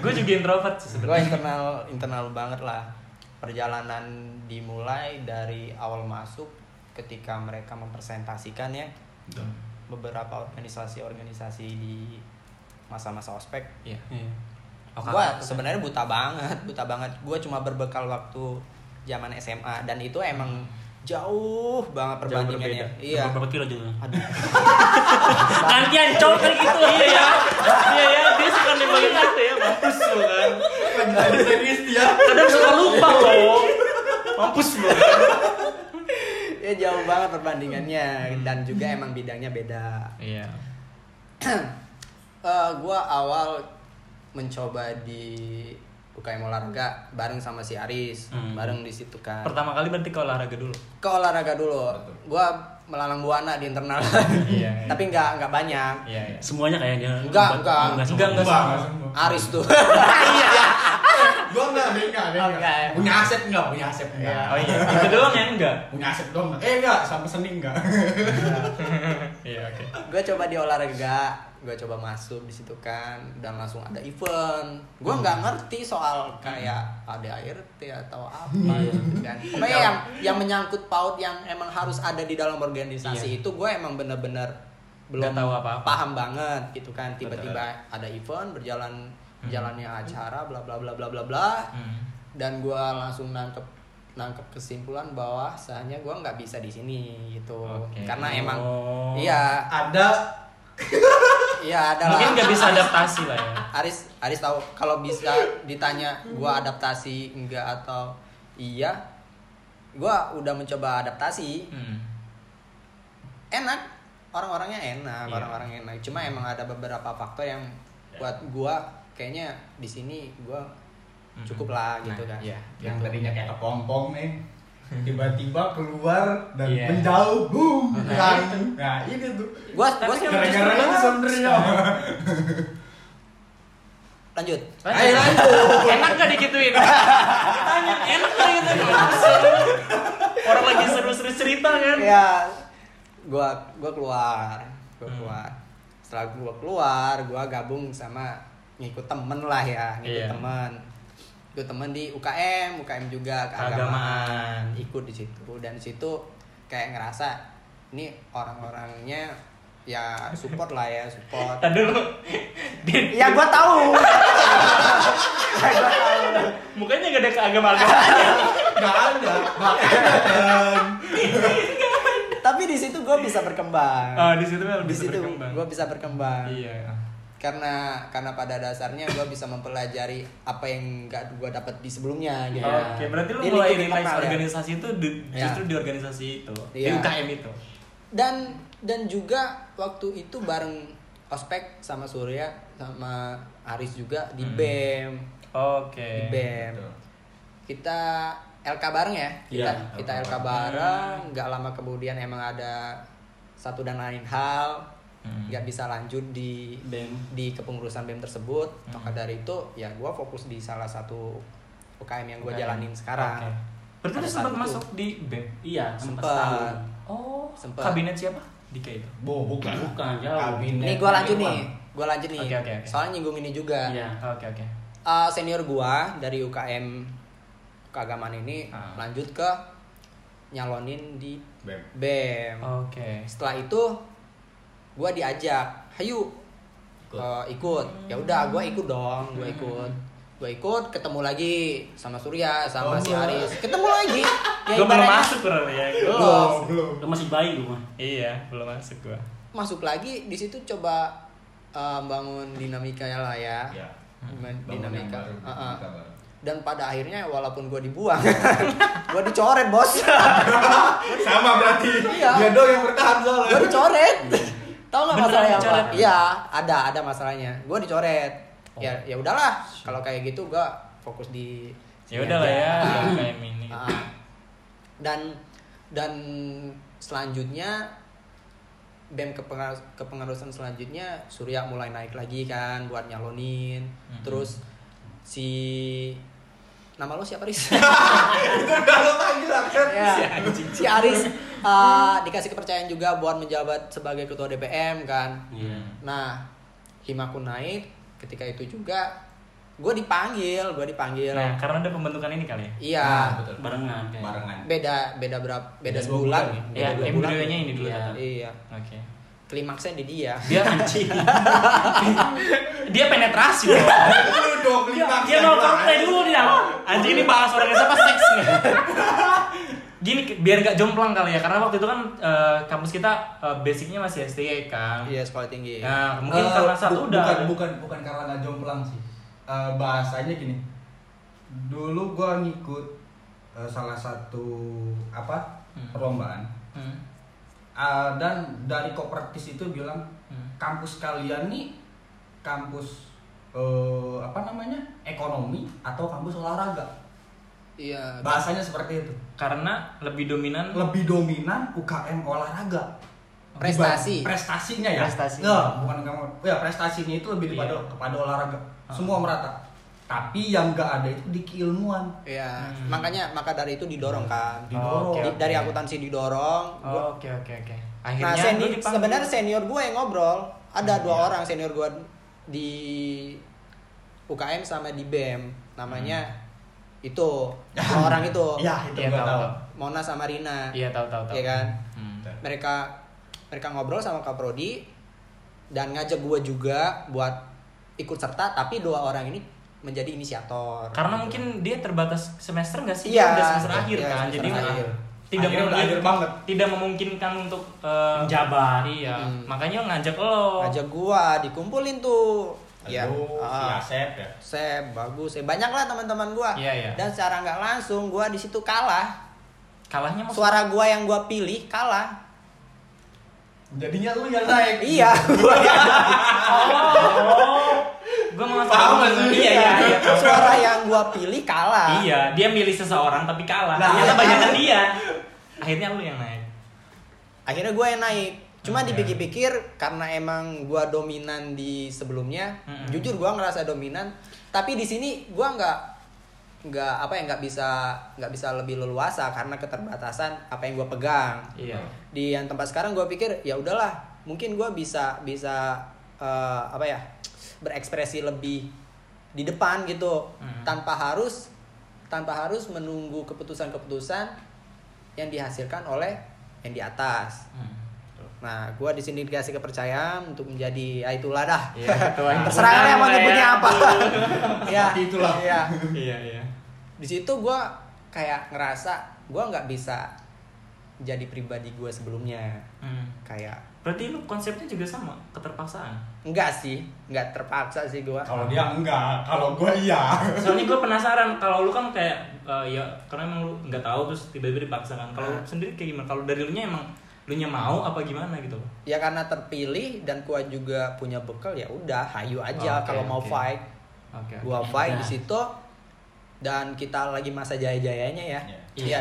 [SPEAKER 4] Gue juga introvert sih
[SPEAKER 3] gue
[SPEAKER 4] sebenarnya.
[SPEAKER 3] internal internal banget lah perjalanan dimulai dari awal masuk ketika mereka mempresentasikan ya
[SPEAKER 4] Iya.
[SPEAKER 3] beberapa organisasi-organisasi di masa-masa ospek
[SPEAKER 4] Iya.
[SPEAKER 2] Iya.
[SPEAKER 4] Oke.
[SPEAKER 3] gue sebenarnya buta banget buta banget gue cuma berbekal waktu zaman SMA dan itu emang jauh banget
[SPEAKER 4] Jauh
[SPEAKER 3] perbandingannya
[SPEAKER 4] berbeda.
[SPEAKER 3] iya
[SPEAKER 2] berapa kilo jadinya
[SPEAKER 3] aduh
[SPEAKER 2] gantian cowok kan gitu iya ya iya ya dia suka nembakin gitu
[SPEAKER 4] Iya,
[SPEAKER 2] ya mampus lu kan
[SPEAKER 1] Lagi lagi serius dia.
[SPEAKER 2] kadang suka lupa loh mampus lu
[SPEAKER 3] ya jauh banget perbandingannya dan juga emang bidangnya beda
[SPEAKER 4] Iya.
[SPEAKER 3] Eh, gua awal mencoba di UKM olahraga bareng sama si Aris,
[SPEAKER 2] Hmm.
[SPEAKER 3] bareng di situ kan.
[SPEAKER 4] Pertama kali berarti ke olahraga dulu.
[SPEAKER 3] Ke olahraga dulu.
[SPEAKER 1] Betul.
[SPEAKER 3] Gua melalang buana di internal.
[SPEAKER 4] Iya, iya.
[SPEAKER 3] Tapi nggak nggak banyak.
[SPEAKER 4] Iya, iya.
[SPEAKER 2] semuanya kayak dia
[SPEAKER 3] Enggak, enggak.
[SPEAKER 2] enggak
[SPEAKER 4] Enggak,
[SPEAKER 1] Enggak,
[SPEAKER 4] semua.
[SPEAKER 1] enggak semua.
[SPEAKER 3] Aris tuh.
[SPEAKER 4] Iya.
[SPEAKER 1] Gua enggak, dia enggak, dia
[SPEAKER 3] Oh,
[SPEAKER 1] enggak.
[SPEAKER 3] enggak ya.
[SPEAKER 1] Punya aset enggak? Punya aset enggak?
[SPEAKER 4] Oh iya, itu doang yang enggak.
[SPEAKER 1] Punya aset dong. Eh enggak, sama seni enggak.
[SPEAKER 4] Iya, oke.
[SPEAKER 3] gua coba di olahraga, gua coba masuk di situ kan dan langsung ada event. Gua
[SPEAKER 4] Hmm.
[SPEAKER 3] nggak ngerti soal kayak ada ART atau apa
[SPEAKER 4] Iya.
[SPEAKER 3] gitu kan. Pokoknya yang yang menyangkut paut yang emang harus ada di dalam organisasi itu gua emang bener-bener belum
[SPEAKER 4] Iya. Nggak tahu apa-apa.
[SPEAKER 3] paham banget gitu kan tiba-tiba
[SPEAKER 4] Betul.
[SPEAKER 3] ada event berjalan jalannya acara bla bla bla bla bla bla
[SPEAKER 4] Hmm.
[SPEAKER 3] dan gua langsung nangkep nangkep kesimpulan bahwa seharusnya gua nggak bisa di sini gitu
[SPEAKER 4] Oke.
[SPEAKER 3] karena emang
[SPEAKER 4] Oh.
[SPEAKER 3] iya
[SPEAKER 1] Ada
[SPEAKER 3] Iya adalah
[SPEAKER 4] Mungkin nggak bisa adaptasi lah ya.
[SPEAKER 3] Aris Aris tahu kalau bisa ditanya gua adaptasi enggak atau iya gua udah mencoba adaptasi
[SPEAKER 4] Hmm.
[SPEAKER 3] enak orang-orangnya enak
[SPEAKER 4] Iya. Ya.
[SPEAKER 3] orang-orangnya enak cuma emang ada beberapa faktor yang buat gua kayaknya di sini gua cukup lah gitu
[SPEAKER 4] Nah,
[SPEAKER 3] kan
[SPEAKER 4] iya.
[SPEAKER 1] yang tadinya kayak kepompong nih tiba-tiba keluar dan
[SPEAKER 4] Iya.
[SPEAKER 1] menjauh boom nah, nah ini tuh
[SPEAKER 3] gua
[SPEAKER 4] Tapi
[SPEAKER 3] gua
[SPEAKER 4] kan
[SPEAKER 1] gara-gara itu sebenarnya
[SPEAKER 3] lanjut
[SPEAKER 1] ayo lanjut
[SPEAKER 4] Enak gak digituin? Tanya, enak gak gitu? Orang lagi seru-seru cerita kan?
[SPEAKER 3] ya gua gua keluar gua
[SPEAKER 4] Hmm.
[SPEAKER 3] keluar setelah gua keluar gua gabung sama ngikut temen lah ya ngikut
[SPEAKER 4] Iya.
[SPEAKER 3] temen Ikut temen di UKM UKM juga keagamaan
[SPEAKER 4] Keagamaan.
[SPEAKER 3] ikut di situ dan di situ kayak ngerasa ini orang-orangnya ya support lah ya support
[SPEAKER 4] Tadi dulu. Din,
[SPEAKER 3] ya gua tahu ya gua tahu
[SPEAKER 4] mukanya gak ada keagamaan-agamaan.
[SPEAKER 1] nggak ada bahkan
[SPEAKER 3] tapi di situ gua bisa berkembang
[SPEAKER 4] Ah, di situ
[SPEAKER 3] di
[SPEAKER 4] lebih
[SPEAKER 3] situ gua bisa berkembang
[SPEAKER 4] Iya.
[SPEAKER 3] karena karena pada dasarnya gue bisa mempelajari apa yang nggak gue dapat di sebelumnya gitu
[SPEAKER 4] Oke, berarti lu
[SPEAKER 3] Di
[SPEAKER 4] mulai
[SPEAKER 3] lingkup
[SPEAKER 4] realize
[SPEAKER 3] internal ya.
[SPEAKER 4] organisasi itu di-
[SPEAKER 3] Iya.
[SPEAKER 4] justru di organisasi itu, di
[SPEAKER 3] Iya.
[SPEAKER 4] UKM itu.
[SPEAKER 3] dan dan juga waktu itu bareng ospek sama surya sama aris juga di bem
[SPEAKER 4] Oke.
[SPEAKER 3] di bem kita lk bareng ya kita
[SPEAKER 2] Iya,
[SPEAKER 3] kita
[SPEAKER 1] LK
[SPEAKER 3] lk bareng nggak lama kemudian emang ada satu dan lain hal
[SPEAKER 4] Hmm.
[SPEAKER 3] nggak bisa lanjut di
[SPEAKER 2] BEM.
[SPEAKER 3] di kepengurusan BEM tersebut.
[SPEAKER 4] Hmm.
[SPEAKER 3] Maka dari itu ya gua fokus di salah satu UKM yang gua
[SPEAKER 4] UKM.
[SPEAKER 3] jalanin sekarang.
[SPEAKER 4] Oke. Berarti lu
[SPEAKER 3] Pada
[SPEAKER 4] sempat
[SPEAKER 3] saat itu.
[SPEAKER 4] masuk di BEM.
[SPEAKER 2] iya sempat
[SPEAKER 3] Sempat.
[SPEAKER 2] setahun
[SPEAKER 4] Oh,
[SPEAKER 3] Sempat.
[SPEAKER 4] Kabinet siapa? Dika itu.
[SPEAKER 1] boh bukan
[SPEAKER 2] Bukan, jauh.
[SPEAKER 3] Ini gua lanjut nih, gua lanjut nih.
[SPEAKER 4] Oke, oke, oke.
[SPEAKER 3] Soalnya nyinggung ini juga.
[SPEAKER 2] iya
[SPEAKER 4] Nah, Oke, oke.
[SPEAKER 3] Eh, senior gua dari UKM keagamaan ini
[SPEAKER 4] Ah.
[SPEAKER 3] lanjut ke nyalonin di
[SPEAKER 1] Bem.
[SPEAKER 3] BEM.
[SPEAKER 4] Oke.
[SPEAKER 3] Setelah itu gua diajak, "Hayu,
[SPEAKER 2] Ikut.
[SPEAKER 3] eh, ikut ya udah gue ikut dong gue ikut gue ikut ketemu lagi sama Surya
[SPEAKER 1] Oh,
[SPEAKER 3] sama si
[SPEAKER 1] iya.
[SPEAKER 3] Haris ketemu lagi ya
[SPEAKER 4] gue belum
[SPEAKER 3] ibaratnya
[SPEAKER 4] masuk Ron, ya Gua-
[SPEAKER 3] Belum.
[SPEAKER 1] belum.
[SPEAKER 2] Lu masih bayi lu mah.
[SPEAKER 4] iya belum masuk gue
[SPEAKER 3] masuk lagi di situ coba eh, bangun dinamika ya lah ya,
[SPEAKER 1] Ya. bangun
[SPEAKER 3] Bangun
[SPEAKER 1] yang
[SPEAKER 3] dinamika
[SPEAKER 1] baru,
[SPEAKER 3] Ah, ah.
[SPEAKER 1] dinamika baru.
[SPEAKER 3] dan pada akhirnya walaupun gue dibuang gue dicoret bos
[SPEAKER 1] Sama berarti. Dia
[SPEAKER 3] Iya.
[SPEAKER 1] doang yang bertahan soalnya.
[SPEAKER 3] gue dicoret tau nggak
[SPEAKER 4] Beneran
[SPEAKER 3] masalahnya apa
[SPEAKER 4] dicoret? Oh.
[SPEAKER 3] iya ada ada masalahnya gue dicoret ya ya udahlah kalau kayak gitu gue fokus di
[SPEAKER 4] ya udah lah ya jangan kayak mini
[SPEAKER 3] Iya, Ah. dan dan selanjutnya bem kepengar- kepengurusan selanjutnya Surya mulai naik lagi kan buat nyalonin
[SPEAKER 4] Mhm.
[SPEAKER 3] terus si nama lo siapa Riz?
[SPEAKER 1] Itu udah lo panggilan kan.
[SPEAKER 3] ya, si Aris uh, dikasih kepercayaan juga buat menjabat sebagai ketua DPM kan.
[SPEAKER 2] Iya.
[SPEAKER 3] Nah, Himaku naik ketika itu juga gue dipanggil, gue dipanggil.
[SPEAKER 4] nah karena ada pembentukan ini kali ya
[SPEAKER 1] Nah,
[SPEAKER 3] Iya,
[SPEAKER 1] betul.
[SPEAKER 2] Barengan kayak.
[SPEAKER 1] Barengan.
[SPEAKER 3] beda beda berapa
[SPEAKER 1] Beda dua
[SPEAKER 3] beda sebulan.
[SPEAKER 1] bulan.
[SPEAKER 3] beda
[SPEAKER 4] ya
[SPEAKER 3] dua bulan.
[SPEAKER 4] embryonya ini dulu
[SPEAKER 2] Iya.
[SPEAKER 4] datang.
[SPEAKER 3] Iya,
[SPEAKER 4] oke
[SPEAKER 3] klimaksnya di dia.
[SPEAKER 2] Dia kan anjing.
[SPEAKER 4] dia penetrasi loh
[SPEAKER 1] Lu dong lima.
[SPEAKER 4] Iya, dia mau konten dulu dia
[SPEAKER 1] Eh,
[SPEAKER 4] anjing ini bahas orang yang apa seks nih gini biar gak jomplang kali ya karena waktu itu kan eh, kampus kita eh, basicnya masih STY kan
[SPEAKER 3] Iya, sekolah tinggi.
[SPEAKER 4] Nah, mungkin
[SPEAKER 1] Eh,
[SPEAKER 4] karena
[SPEAKER 1] bu-
[SPEAKER 4] satu udah.
[SPEAKER 1] Bukan bukan bukan karena nggak jomplang sih. Eh, bahasanya gini. Dulu gua ngikut eh, salah satu apa
[SPEAKER 4] Hmm.
[SPEAKER 1] perlombaan
[SPEAKER 4] Hmm.
[SPEAKER 1] Ah, dan dari kopertis itu bilang
[SPEAKER 4] Hmm.
[SPEAKER 1] kampus kalian nih kampus eh, apa namanya ekonomi atau kampus olahraga
[SPEAKER 3] Iya.
[SPEAKER 1] bahasanya seperti itu
[SPEAKER 4] Karena lebih dominan
[SPEAKER 1] lebih dominan UKM olahraga Dibanding-
[SPEAKER 3] Prestasi.
[SPEAKER 1] prestasinya ya
[SPEAKER 5] Prestasi.
[SPEAKER 1] Nggak, bukan kamu ya prestasinya itu lebih daripada
[SPEAKER 4] Iya.
[SPEAKER 1] kepada olahraga semua merata tapi yang nggak ada itu di keilmuan
[SPEAKER 3] Iya,
[SPEAKER 4] Hmm.
[SPEAKER 3] makanya maka dari itu didorong kan.
[SPEAKER 1] didorong
[SPEAKER 4] Oke,
[SPEAKER 3] Di-
[SPEAKER 4] oke.
[SPEAKER 3] Dari akuntansi didorong, gua-
[SPEAKER 4] Oh, Oke oke oke.
[SPEAKER 3] Nah,
[SPEAKER 4] Akhirnya
[SPEAKER 3] seni-
[SPEAKER 4] lu dipanggil.
[SPEAKER 3] sebenarnya senior gue yang ngobrol. Ada
[SPEAKER 4] Hmm,
[SPEAKER 3] dua
[SPEAKER 4] iya.
[SPEAKER 3] orang senior gue di UKM sama di BEM. Namanya itu, orang itu.
[SPEAKER 1] ya itu
[SPEAKER 4] Hmm. Iya,
[SPEAKER 1] gua
[SPEAKER 4] tahu,
[SPEAKER 1] tahu
[SPEAKER 4] tahu.
[SPEAKER 3] Mona sama Rina.
[SPEAKER 4] Iya tahu tahu tahu.
[SPEAKER 3] Iya kan?
[SPEAKER 4] Hmm.
[SPEAKER 3] Mereka mereka ngobrol sama Kak Prodi dan ngajak gue juga buat ikut serta tapi dua orang ini menjadi inisiator. Gitu.
[SPEAKER 4] Karena mungkin dia terbatas semester nggak sih?
[SPEAKER 3] Iya,
[SPEAKER 4] Dia udah semester akhir
[SPEAKER 3] iya,
[SPEAKER 4] kan.
[SPEAKER 3] semester
[SPEAKER 4] Jadi
[SPEAKER 3] akhir.
[SPEAKER 4] tidak
[SPEAKER 1] Akhirnya udah
[SPEAKER 4] memungkinkan-
[SPEAKER 1] akhir banget.
[SPEAKER 4] Tidak memungkinkan untuk eh,
[SPEAKER 2] Menjabat.
[SPEAKER 4] Iya.
[SPEAKER 3] Mm.
[SPEAKER 4] Makanya ngajak lo.
[SPEAKER 3] ngajak gua dikumpulin tuh. Iya.
[SPEAKER 1] Aduh, si
[SPEAKER 3] Ah.
[SPEAKER 1] Asep ya
[SPEAKER 3] Seb, bagus, Seb. banyak lah teman-teman gua.
[SPEAKER 4] Iya, iya.
[SPEAKER 3] Dan secara nggak langsung gua di situ kalah.
[SPEAKER 4] Kalahnya maksud
[SPEAKER 3] Suara gua yang gua pilih kalah.
[SPEAKER 1] jadinya lu yang naik
[SPEAKER 3] Iya, gua yang
[SPEAKER 4] Oh. Gue mau
[SPEAKER 1] Paham nggak
[SPEAKER 4] ngasih
[SPEAKER 1] sih?
[SPEAKER 4] Iya iya iya. tahu.
[SPEAKER 3] Suara yang gua pilih kalah.
[SPEAKER 4] Iya. Dia milih seseorang tapi kalah.
[SPEAKER 1] Nah,
[SPEAKER 4] Ternyata
[SPEAKER 1] iya.
[SPEAKER 4] banyaknya dia. Akhirnya lu yang naik.
[SPEAKER 3] Akhirnya gua yang naik. Cuma
[SPEAKER 4] Oke.
[SPEAKER 3] dipikir-pikir karena emang gua dominan di sebelumnya,
[SPEAKER 4] Mm-mm.
[SPEAKER 3] jujur gua ngerasa dominan, tapi di sini gua nggak nggak apa ya nggak bisa nggak bisa lebih leluasa karena keterbatasan apa yang gua pegang.
[SPEAKER 4] Iya.
[SPEAKER 3] di yang tempat sekarang gue pikir ya udahlah mungkin gue bisa bisa eh, apa ya berekspresi lebih di depan gitu
[SPEAKER 4] Hmm.
[SPEAKER 3] tanpa harus tanpa harus menunggu keputusan-keputusan yang dihasilkan oleh yang di atas.
[SPEAKER 4] Hmm.
[SPEAKER 3] Nah, gue di sini dikasih kepercayaan untuk menjadi ya itulah dah.
[SPEAKER 4] Iya, ketua
[SPEAKER 3] Terserah kalian
[SPEAKER 4] himpunan
[SPEAKER 3] mau
[SPEAKER 4] lah ya.
[SPEAKER 3] nyebutnya apa. ya,
[SPEAKER 1] Seperti itulah.
[SPEAKER 3] Iya.
[SPEAKER 4] Iya iya.
[SPEAKER 3] Di situ gue kayak ngerasa gue nggak bisa jadi pribadi gue sebelumnya.
[SPEAKER 4] Hmm.
[SPEAKER 3] Kayak
[SPEAKER 4] Berarti lu konsepnya juga sama, keterpaksaan.
[SPEAKER 3] Enggak sih, enggak terpaksa sih gua.
[SPEAKER 1] kalau dia enggak kalau gua iya
[SPEAKER 4] Soalnya gue penasaran kalau lu kan kayak eh, ya karena emang lu nggak tahu terus tiba-tiba dipaksakan. Kalau
[SPEAKER 3] Nah.
[SPEAKER 4] lu sendiri kayak gimana? Kalau dari lu nya emang lu nya mau apa gimana gitu?
[SPEAKER 3] Ya karena terpilih dan gua juga punya bekal ya udah, hayu aja
[SPEAKER 4] Oke,
[SPEAKER 3] kalau mau
[SPEAKER 4] oke.
[SPEAKER 3] fight.
[SPEAKER 4] Oke.
[SPEAKER 3] Gua fight
[SPEAKER 2] Nah.
[SPEAKER 3] di situ dan kita lagi masa jaya-jayanya ya. Iya.
[SPEAKER 4] Iya.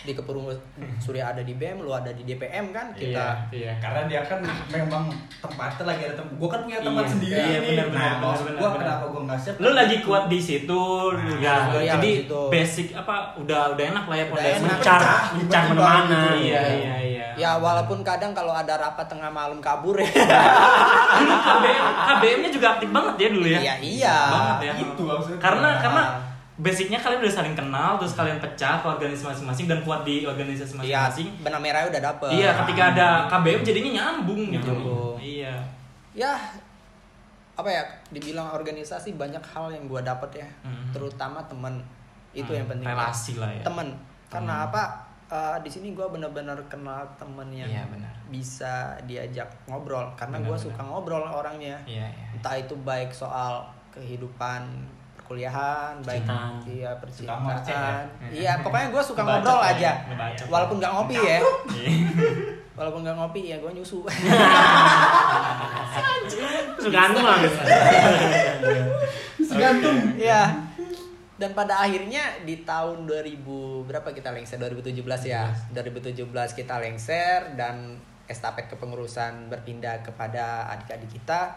[SPEAKER 3] Di kepurung Surya ada di BM, lu ada di DPM kan kita.
[SPEAKER 4] Iya.
[SPEAKER 1] karena dia kan memang tempatnya lagi ada tempat gue kan punya tempat
[SPEAKER 4] Iya,
[SPEAKER 1] sendiri
[SPEAKER 4] iya,
[SPEAKER 1] nih
[SPEAKER 4] benar, benar,
[SPEAKER 1] nah maksud
[SPEAKER 4] benar,
[SPEAKER 1] gue
[SPEAKER 4] benar.
[SPEAKER 1] kenapa gue nggak siap
[SPEAKER 4] Lu lagi kuat di situ, lu
[SPEAKER 3] Nah,
[SPEAKER 4] ya.
[SPEAKER 3] iya,
[SPEAKER 4] jadi
[SPEAKER 3] di situ.
[SPEAKER 4] basic apa udah udah enak lah ya pondasi.
[SPEAKER 3] enak.
[SPEAKER 2] Mencar,
[SPEAKER 1] Pecah,
[SPEAKER 2] mencar
[SPEAKER 1] tiba-tiba
[SPEAKER 2] mana-mana.
[SPEAKER 1] gitu.
[SPEAKER 4] Iya iya iya.
[SPEAKER 3] Ya walaupun kadang kalau ada rapat tengah malam kabur ya.
[SPEAKER 4] Iya. Dulu KBM KBM-nya juga aktif banget ya dulu ya.
[SPEAKER 3] Iya, iya.
[SPEAKER 4] Banget ya.
[SPEAKER 1] Itu maksudnya.
[SPEAKER 4] Karena
[SPEAKER 1] Nah.
[SPEAKER 4] karena basicnya kalian udah saling kenal terus kalian pecah ke organisasi masing-masing dan kuat di organisasi
[SPEAKER 3] Iya,
[SPEAKER 4] masing-masing.
[SPEAKER 3] benang merahnya udah dapet.
[SPEAKER 4] Iya, ketika ada KBM jadinya nyambung gitu.
[SPEAKER 3] Nyambung.
[SPEAKER 4] Iya.
[SPEAKER 3] Ya apa ya dibilang organisasi banyak hal yang gua dapet ya
[SPEAKER 4] Hmm.
[SPEAKER 3] terutama temen itu
[SPEAKER 4] Hmm,
[SPEAKER 3] yang penting
[SPEAKER 4] relasi lah ya
[SPEAKER 3] temen karena
[SPEAKER 4] Temen.
[SPEAKER 3] apa eh, di sini gua bener-bener kenal temen yang
[SPEAKER 4] Iya, benar.
[SPEAKER 3] bisa diajak ngobrol karena
[SPEAKER 4] Benar,
[SPEAKER 3] gua
[SPEAKER 4] benar.
[SPEAKER 3] suka ngobrol orangnya
[SPEAKER 4] iya iya
[SPEAKER 3] entah itu baik soal kehidupan perkuliahan baik
[SPEAKER 2] Percintaan.
[SPEAKER 3] iya
[SPEAKER 1] ngoceh ya.
[SPEAKER 3] percintaan iya pokoknya gue suka
[SPEAKER 4] Ngebacot
[SPEAKER 3] ngobrol
[SPEAKER 4] lah ya,
[SPEAKER 3] aja
[SPEAKER 4] ngebacot.
[SPEAKER 3] walaupun nggak ngopi ya
[SPEAKER 4] Iya.
[SPEAKER 3] walaupun nggak ngopi ya gue nyusu
[SPEAKER 2] Terus gantung anu lah.
[SPEAKER 1] Segantung.
[SPEAKER 3] iya dan pada akhirnya di tahun 2000 berapa kita lengser 2017 ya 2017 kita lengser dan estafet kepengurusan berpindah kepada adik-adik kita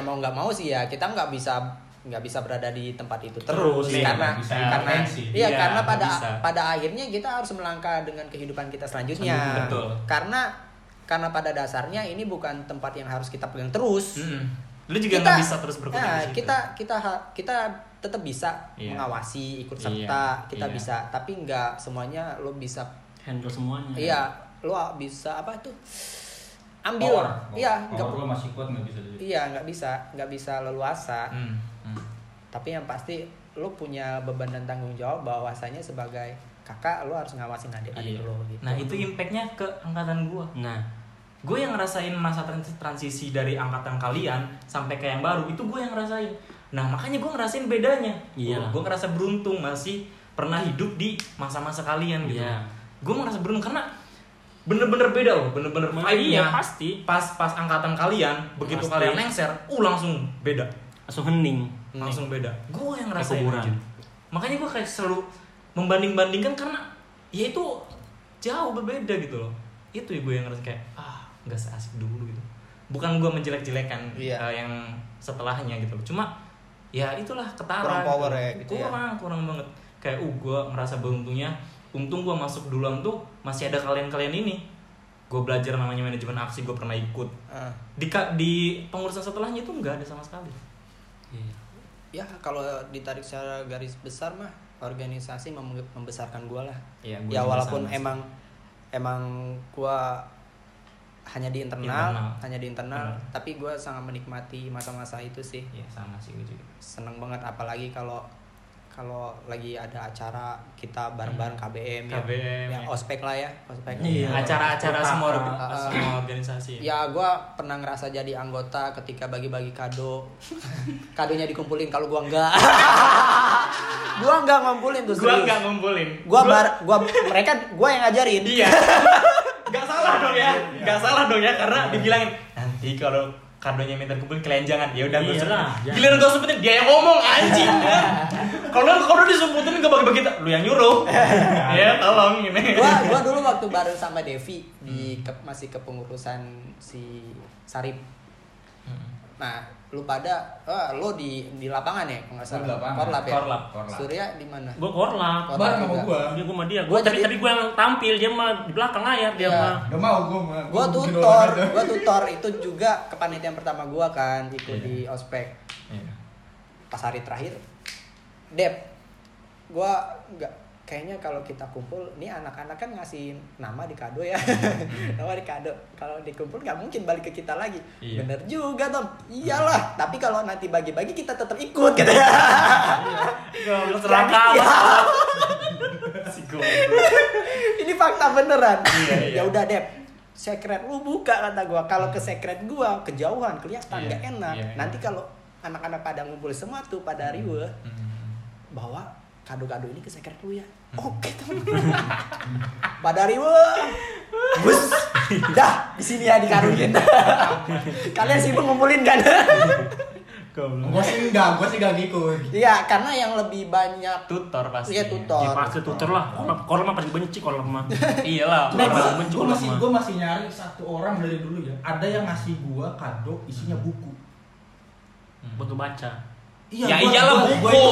[SPEAKER 3] ya mau nggak mau sih ya kita nggak bisa nggak bisa berada di tempat itu
[SPEAKER 4] Terus,
[SPEAKER 3] terus,
[SPEAKER 4] iya,
[SPEAKER 3] karena
[SPEAKER 4] nggak bisa
[SPEAKER 3] karena
[SPEAKER 1] intervensi.
[SPEAKER 3] iya
[SPEAKER 4] Iya,
[SPEAKER 3] karena
[SPEAKER 4] nggak
[SPEAKER 3] pada
[SPEAKER 4] bisa.
[SPEAKER 3] pada akhirnya kita harus melangkah dengan kehidupan kita selanjutnya
[SPEAKER 4] Selanjutnya, betul.
[SPEAKER 3] karena karena pada dasarnya ini bukan tempat yang harus kita pegang terus
[SPEAKER 4] Mm-mm. Hmm. lu juga nggak bisa terus berkutat
[SPEAKER 3] nah,
[SPEAKER 4] di situ.
[SPEAKER 3] kita kita ha- kita tetap bisa
[SPEAKER 4] Iya.
[SPEAKER 3] mengawasi ikut
[SPEAKER 4] Iya,
[SPEAKER 3] serta kita
[SPEAKER 4] iya.
[SPEAKER 3] bisa tapi nggak semuanya lo bisa
[SPEAKER 2] Handle semuanya.
[SPEAKER 3] iya lo bisa apa tuh ambil
[SPEAKER 1] Power.
[SPEAKER 3] iya nggak
[SPEAKER 1] Power gua masih kuat nggak bisa jadi.
[SPEAKER 3] iya nggak bisa nggak bisa leluasa
[SPEAKER 4] Mm, mm.
[SPEAKER 3] tapi yang pasti lu punya beban dan tanggung jawab bahwasanya sebagai kakak lu harus ngawasin adik-adik
[SPEAKER 4] Iya.
[SPEAKER 3] lu gitu.
[SPEAKER 4] nah itu impactnya ke angkatan gua
[SPEAKER 2] Nah,
[SPEAKER 4] gue yang ngerasain masa trans- transisi dari angkatan kalian sampai ke yang baru itu gue yang ngerasain nah makanya gue ngerasain bedanya
[SPEAKER 2] Iya.
[SPEAKER 4] gue ngerasa beruntung masih pernah hidup di masa-masa kalian gitu
[SPEAKER 2] Iya.
[SPEAKER 4] gue ngerasa beruntung karena bener-bener beda loh bener-bener
[SPEAKER 2] Emang iya,
[SPEAKER 4] vibe-nya.
[SPEAKER 2] pasti.
[SPEAKER 4] pas pas angkatan kalian begitu
[SPEAKER 2] Pasti.
[SPEAKER 4] kalian lengser uh langsung beda
[SPEAKER 2] langsung hening.
[SPEAKER 4] langsung beda gue yang ngerasain
[SPEAKER 2] kuburan.
[SPEAKER 4] anjir. makanya gue kayak selalu membanding-bandingkan karena ya itu jauh berbeda gitu loh itu ya gue yang ngerasa kayak ah nggak seasik dulu gitu bukan gue menjelek-jelekan
[SPEAKER 5] Iya.
[SPEAKER 4] eh, yang setelahnya gitu loh cuma ya itulah ketara
[SPEAKER 5] Kurang power
[SPEAKER 4] gitu.
[SPEAKER 5] ya, gitu ya.
[SPEAKER 4] kurang kurang banget kayak uh gue merasa beruntungnya untung gue masuk duluan tuh masih ada kalian-kalian ini gue belajar namanya manajemen aksi gue pernah ikut
[SPEAKER 5] Ah.
[SPEAKER 4] di ka- di pengurusan setelahnya itu nggak ada sama sekali
[SPEAKER 2] Iya.
[SPEAKER 3] ya kalau ditarik secara garis besar mah organisasi mem- membesarkan gua lah.
[SPEAKER 4] Iya, gua
[SPEAKER 3] ya
[SPEAKER 4] juga
[SPEAKER 3] walaupun
[SPEAKER 4] sama sih.
[SPEAKER 3] emang emang gua hanya di internal,
[SPEAKER 4] Internal.
[SPEAKER 3] hanya di internal,
[SPEAKER 4] Benar.
[SPEAKER 3] tapi gua sangat menikmati masa-masa itu sih.
[SPEAKER 4] Iya sama sih gue juga.
[SPEAKER 3] Seneng banget apalagi kalau kalau lagi ada acara kita bareng-bareng
[SPEAKER 4] Hmm.
[SPEAKER 3] KBM, ya.
[SPEAKER 4] KBM,
[SPEAKER 3] ya,
[SPEAKER 4] ya.
[SPEAKER 3] ospek lah ya, ospek.
[SPEAKER 4] Iya, acara-acara
[SPEAKER 2] Kota,
[SPEAKER 4] semua,
[SPEAKER 2] kota.
[SPEAKER 4] orga- semua organisasi. ya.
[SPEAKER 3] Ya gua pernah ngerasa jadi anggota ketika bagi-bagi kado Kadonya dikumpulin kalau gua enggak Gua enggak ngumpulin tuh
[SPEAKER 4] Gua
[SPEAKER 3] serius.
[SPEAKER 4] nggak ngumpulin.
[SPEAKER 3] Gua bar gua mereka gua yang ngajarin
[SPEAKER 4] Iya. Gak salah dong ya. Gak salah dong ya karena dibilangin nanti kalau kadonya minta kumpulin kalian jangan. Ya udah gue
[SPEAKER 2] Iya lah, jangan.
[SPEAKER 4] Giliran gue sumpetin dia yang ngomong anjing. Kalau kalau disumpetin gue bagi-bagi lu yang nyuruh. ya tolong ini.
[SPEAKER 3] Gua gua dulu waktu bareng sama Devi
[SPEAKER 1] Hmm.
[SPEAKER 3] di ke- masih kepengurusan si Sarip Nah, lu pada eh, lu di di lapangan ya, kalau nggak salah.
[SPEAKER 1] Di lapangan.
[SPEAKER 3] Korlap ya.
[SPEAKER 4] Korlap.
[SPEAKER 1] Korlap.
[SPEAKER 3] Surya di mana?
[SPEAKER 2] Gue korlap.
[SPEAKER 3] Korlap
[SPEAKER 1] Bareng sama
[SPEAKER 3] juga.
[SPEAKER 1] gua.
[SPEAKER 2] Dia gue sama dia.
[SPEAKER 3] Gua
[SPEAKER 2] Gua tapi
[SPEAKER 3] tadi-
[SPEAKER 2] tapi gue yang tampil dia mah di belakang layar dia
[SPEAKER 3] Iya.
[SPEAKER 2] mah.
[SPEAKER 1] Gak mau gua. mah.
[SPEAKER 3] gue
[SPEAKER 1] Gua bikin
[SPEAKER 3] tutor
[SPEAKER 1] olahraga.
[SPEAKER 3] gue tutor itu juga kepanitiaan pertama gue kan ikut di
[SPEAKER 1] Iya.
[SPEAKER 3] ospek
[SPEAKER 4] Iya.
[SPEAKER 3] pas hari terakhir Dep gue nggak kayaknya kalau kita kumpul ini anak-anak kan ngasih nama di kado ya
[SPEAKER 4] Hmm.
[SPEAKER 3] nama di kado kalau dikumpul nggak mungkin balik ke kita lagi
[SPEAKER 4] Iya. Hmm.
[SPEAKER 3] bener juga Tom iyalah tapi kalau nanti bagi-bagi kita tetap ikut gitu ya
[SPEAKER 4] Goblok
[SPEAKER 2] Seraka
[SPEAKER 3] Iya.
[SPEAKER 2] masalah.
[SPEAKER 4] si goblok.
[SPEAKER 3] ini fakta beneran
[SPEAKER 4] Iya, iya. Hmm.
[SPEAKER 3] ya udah Dep secret lu buka kata gua kalau ke secret gua kejauhan kelihatan
[SPEAKER 4] Iya,
[SPEAKER 3] nggak enak
[SPEAKER 4] iya, iya.
[SPEAKER 3] nanti kalau anak-anak pada ngumpul semua tuh pada riwe
[SPEAKER 4] Hmm.
[SPEAKER 3] bawa kado-kado ini ke secret lu ya oke teman pada riwe bus dah di sini ya dikarunin kalian sibuk ngumpulin kan
[SPEAKER 1] Gua
[SPEAKER 4] Goblok.
[SPEAKER 1] sih enggak, gitu, gua sih gak ngikut.
[SPEAKER 3] iya karena yang lebih banyak
[SPEAKER 4] Tutor pasti.
[SPEAKER 3] Iya, tutor.
[SPEAKER 2] Ya pasti tutor lah. Korlap korlap mah paling benci korlap mah.
[SPEAKER 4] Iya lah.
[SPEAKER 1] Cuma
[SPEAKER 2] Korlap
[SPEAKER 1] gua-
[SPEAKER 2] benci
[SPEAKER 1] gua
[SPEAKER 2] korlap
[SPEAKER 1] masih
[SPEAKER 2] mah.
[SPEAKER 1] gua masih nyari satu orang dari dulu ya. Ada yang ngasih gua kado isinya buku. Iya,
[SPEAKER 2] Butuh baca.
[SPEAKER 4] Ya
[SPEAKER 1] gua-
[SPEAKER 4] iyalah,
[SPEAKER 1] gua-
[SPEAKER 4] buku.
[SPEAKER 1] gua itu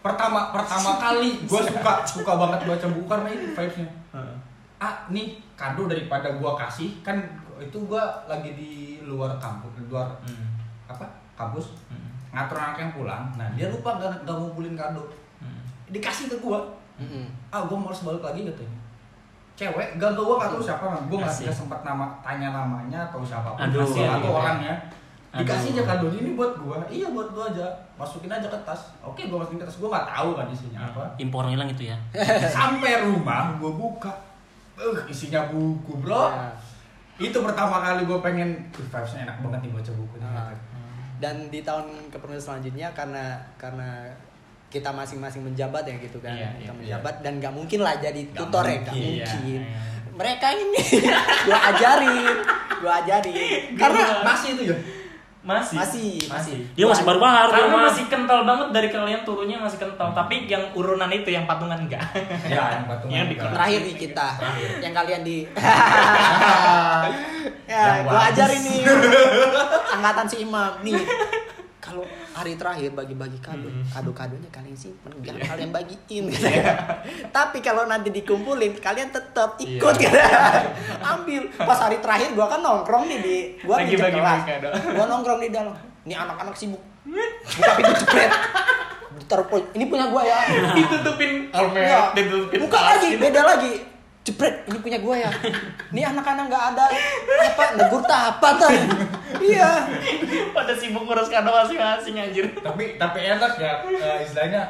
[SPEAKER 1] pertama pertama kali gua suka suka banget baca buku karena ini vibes-nya.
[SPEAKER 4] Heeh.
[SPEAKER 1] Ah, nih kado daripada gua kasih kan itu gua lagi di luar kampus, di luar
[SPEAKER 4] Hmm.
[SPEAKER 1] apa? Kampus
[SPEAKER 4] Hmm.
[SPEAKER 1] ngatur anak yang pulang. Nah, dia lupa gak, gak ngumpulin kado.
[SPEAKER 4] Hmm.
[SPEAKER 1] Dikasih ke gua.
[SPEAKER 3] Mm-mm.
[SPEAKER 1] Ah, gua mau harus balik lagi katanya. Cewek, gak gua gak tahu siapa, gua nggak
[SPEAKER 4] Asik.
[SPEAKER 1] nggak sempat nama tanya namanya atau siapa
[SPEAKER 2] Aduh,
[SPEAKER 1] atau
[SPEAKER 2] iya, iya.
[SPEAKER 1] orangnya. ya. dikasih aja kado ini buat gua iya buat gua aja masukin aja ke tas oke gua masukin ke tas gua nggak tahu kan isinya apa
[SPEAKER 2] Impor hilang itu ya.
[SPEAKER 1] sampai rumah gua buka eh isinya buku bro
[SPEAKER 3] Ya.
[SPEAKER 1] itu pertama kali gua pengen "Ih, vibes-nya enak banget nih baca buku nih."
[SPEAKER 3] Nah, dan di tahun kepenulisan selanjutnya karena karena kita masing-masing menjabat ya gitu kan
[SPEAKER 4] Iya,
[SPEAKER 3] kita
[SPEAKER 4] iya,
[SPEAKER 3] menjabat dan nggak mungkin lah jadi tutor ya nggak
[SPEAKER 4] mungkin,
[SPEAKER 3] mungkin
[SPEAKER 4] iya, iya.
[SPEAKER 3] mereka ini gua ajarin gua ajarin karena
[SPEAKER 1] karena masih itu ya
[SPEAKER 4] Masih.
[SPEAKER 3] masih masih
[SPEAKER 2] Dia masih
[SPEAKER 3] Gua-
[SPEAKER 2] baru-baru
[SPEAKER 4] Karena
[SPEAKER 2] Mas.
[SPEAKER 4] masih kental banget dari kalian turunnya masih kental, tapi yang urunan itu yang patungan enggak.
[SPEAKER 1] ya yang patungan
[SPEAKER 4] Yang di
[SPEAKER 1] juga.
[SPEAKER 3] terakhir nih kita yang kalian di ya
[SPEAKER 1] Yang
[SPEAKER 3] gua
[SPEAKER 1] habis.
[SPEAKER 3] ajarin nih angkatan si imam nih kalau hari terakhir bagi-bagi kado
[SPEAKER 4] Mm-hmm.
[SPEAKER 3] kado-kadonya kalian simpen gak
[SPEAKER 4] Iya.
[SPEAKER 3] kalian bagiin gitu ya. tapi kalau nanti dikumpulin kalian tetap
[SPEAKER 4] Iya.
[SPEAKER 3] ikut gitu ambil pas hari terakhir gua kan nongkrong nih di gua
[SPEAKER 4] Lagi
[SPEAKER 3] pinjam
[SPEAKER 4] bagi-bagi
[SPEAKER 3] kelas
[SPEAKER 4] kado. Iya.
[SPEAKER 3] gua nongkrong di dalam nih anak-anak sibuk buka pintu jepret Ditaruh, ini punya gua ya
[SPEAKER 4] ditutupin
[SPEAKER 3] Iya.
[SPEAKER 4] almet, ditutupin
[SPEAKER 3] Bukan
[SPEAKER 4] tas,
[SPEAKER 3] lagi,
[SPEAKER 4] gitu.
[SPEAKER 3] beda lagi. Jepret, ini punya gua ya. Ini anak-anak nggak ada apa negur apa Iya.
[SPEAKER 4] Pada sibuk ngurus kado masing-masing anjir.
[SPEAKER 1] tapi tapi enak ya eh, istilahnya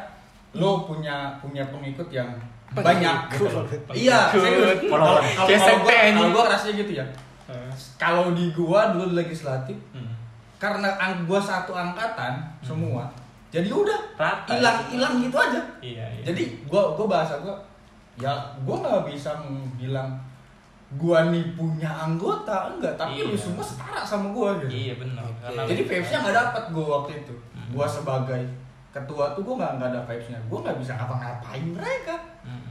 [SPEAKER 1] lo punya punya pengikut yang
[SPEAKER 3] Pengikut.
[SPEAKER 1] banyak gitu loh. iya serius kalau kalau-
[SPEAKER 4] Kayak
[SPEAKER 1] kalau
[SPEAKER 4] sekte,
[SPEAKER 1] gua kalau
[SPEAKER 4] anjing.
[SPEAKER 1] gua rasanya gitu ya
[SPEAKER 4] Eh.
[SPEAKER 1] kalau di gua dulu di legislatif
[SPEAKER 4] Hmm.
[SPEAKER 1] karena ang gua satu angkatan semua jadi udah
[SPEAKER 4] Rata.
[SPEAKER 1] hilang hilang gitu aja
[SPEAKER 4] Iya, iya.
[SPEAKER 1] jadi gua gua bahasa gua ya gua nggak bisa bilang gua nih punya anggota enggak tapi lu
[SPEAKER 4] Iya.
[SPEAKER 1] semua setara sama gua gitu
[SPEAKER 4] Iya benar. Karena-
[SPEAKER 1] jadi vibes-nya nggak dapat gue waktu itu. Gua sebagai ketua tuh gue nggak nggak ada vibes-nya. Gue nggak bisa ngapa-ngapain mereka.
[SPEAKER 4] Hmm.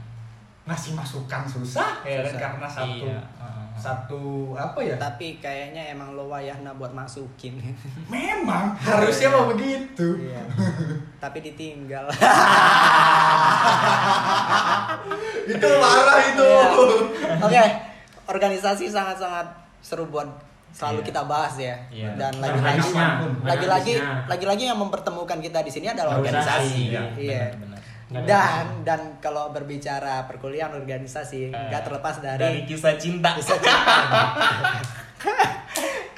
[SPEAKER 1] Ngasih masukan susah, ya kan?
[SPEAKER 3] Susah.
[SPEAKER 1] karena satu
[SPEAKER 4] Iya.
[SPEAKER 1] satu apa ya?
[SPEAKER 3] Tapi kayaknya emang lo wayahna buat masukin.
[SPEAKER 1] Memang harusnya mau begitu.
[SPEAKER 3] Iya. Tapi ditinggal.
[SPEAKER 1] itu parah itu.
[SPEAKER 3] Iya. Oke, organisasi sangat-sangat seru buat selalu
[SPEAKER 4] Iya.
[SPEAKER 3] kita bahas ya.
[SPEAKER 4] Iya.
[SPEAKER 3] Dan lagi-lagi
[SPEAKER 2] Kapan-kapan pun.
[SPEAKER 3] lagi-lagi
[SPEAKER 2] Kapan-kapan.
[SPEAKER 3] lagi-lagi yang mempertemukan kita di sini adalah
[SPEAKER 2] Organisasi,
[SPEAKER 3] organisasi.
[SPEAKER 1] iya.
[SPEAKER 3] Iya.
[SPEAKER 4] Benar, benar.
[SPEAKER 2] Nggak ada
[SPEAKER 3] Dan dan kalau berbicara perkuliahan organisasi nggak terlepas
[SPEAKER 4] dari
[SPEAKER 3] dari
[SPEAKER 4] kisah cinta.
[SPEAKER 3] kisah cinta.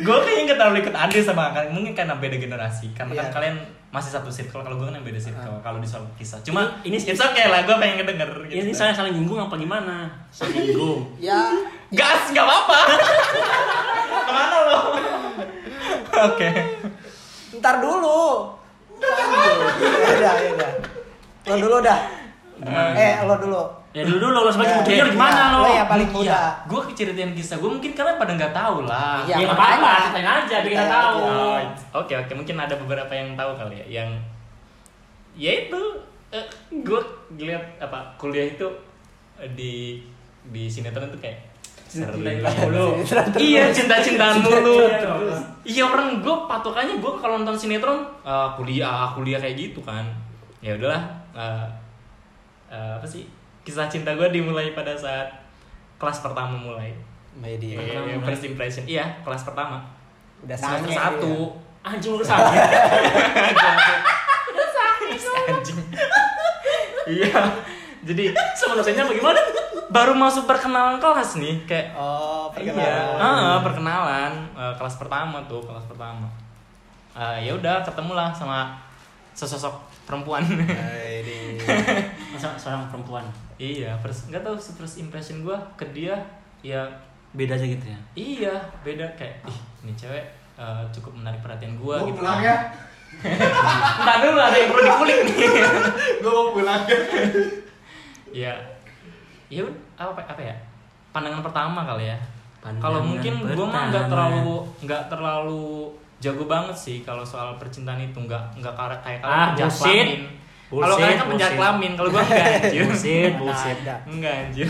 [SPEAKER 4] gue kayaknya nggak terlalu ikut andil sama kalian mungkin karena beda generasi karena kan
[SPEAKER 3] Iya.
[SPEAKER 4] kalian masih satu circle kalau gue kan yang beda circle kalau di soal kisah cuma ini
[SPEAKER 2] Ini- ini-
[SPEAKER 4] it's okay lah gue pengen denger gitu.
[SPEAKER 2] Iya, Ini saya saling nyinggung apa gimana? Saling nyinggung.
[SPEAKER 3] ya
[SPEAKER 4] gas nggak apa-apa kemana lo oke
[SPEAKER 3] ntar dulu. Ya udah, ya udah. Lo dulu dah. Eh, lo dulu.
[SPEAKER 2] Ya dulu dulu lo sebagai
[SPEAKER 3] Ya,
[SPEAKER 2] junior
[SPEAKER 3] ya,
[SPEAKER 2] gimana lo?
[SPEAKER 3] Lo yang paling muda.
[SPEAKER 4] gue keceritain kisah gue mungkin kalian pada nggak tahu lah
[SPEAKER 3] Iya,
[SPEAKER 2] Ya nggak
[SPEAKER 3] makanya. Iya,
[SPEAKER 2] apa-apa, ceritain aja biar kita
[SPEAKER 3] Ceritain
[SPEAKER 2] Ya, tahu.
[SPEAKER 4] Oh, Oke oke mungkin ada beberapa yang tahu kali ya yang ya itu gue ngeliat apa kuliah itu eh, di di sinetron itu kayak seru
[SPEAKER 2] Cinta-cintaan
[SPEAKER 4] ya.
[SPEAKER 2] mulu.
[SPEAKER 4] iya cinta-cintaan mulu
[SPEAKER 2] Sinetron terus.
[SPEAKER 4] iya orang gue patokannya gue kalau nonton sinetron eh, kuliah kuliah kayak gitu kan ya udahlah eh, eh, apa sih kisah cinta gue dimulai pada saat kelas pertama mulai
[SPEAKER 3] Media.
[SPEAKER 4] Iya, iya,
[SPEAKER 2] mulai.
[SPEAKER 4] first impression iya kelas pertama
[SPEAKER 3] Udah
[SPEAKER 4] semester
[SPEAKER 3] sange
[SPEAKER 4] satu
[SPEAKER 3] dia.
[SPEAKER 2] Anjing lu sama.
[SPEAKER 4] anjing iya jadi
[SPEAKER 2] Sama dosennya bagaimana?
[SPEAKER 4] baru masuk perkenalan kelas nih kayak
[SPEAKER 3] Oh,
[SPEAKER 4] iya
[SPEAKER 3] perkenalan.
[SPEAKER 4] ah, perkenalan Eh, kelas pertama tuh kelas pertama Eh, ya udah ketemulah sama sesosok perempuan
[SPEAKER 2] Masa seorang perempuan.
[SPEAKER 4] iya first nggak tahu sih, first impression gua ke dia ya
[SPEAKER 2] Beda aja gitu ya.
[SPEAKER 4] iya beda kayak ih ini cewek eh, cukup menarik perhatian
[SPEAKER 1] Gue
[SPEAKER 4] gua gitu
[SPEAKER 1] pulang ya.
[SPEAKER 4] Entar dulu ada yang perlu dikulik nih
[SPEAKER 1] Gue mau pulang ya.
[SPEAKER 4] ya ya ud- apa apa ya pandangan pertama kali ya
[SPEAKER 2] Pandangan
[SPEAKER 4] kalau mungkin gue mah nggak
[SPEAKER 2] pertama.
[SPEAKER 4] terlalu nggak terlalu jago banget sih kalau soal percintaan itu nggak nggak karet kayak kalian
[SPEAKER 2] Ah,
[SPEAKER 4] penjahat
[SPEAKER 2] bullshit.
[SPEAKER 4] kelamin. kalau
[SPEAKER 2] Bullshit,
[SPEAKER 4] kalian kan penjahat
[SPEAKER 2] bullshit.
[SPEAKER 4] kelamin kalau gue nggak anjir
[SPEAKER 2] Bullshit,
[SPEAKER 3] bullshit.
[SPEAKER 4] nggak anjir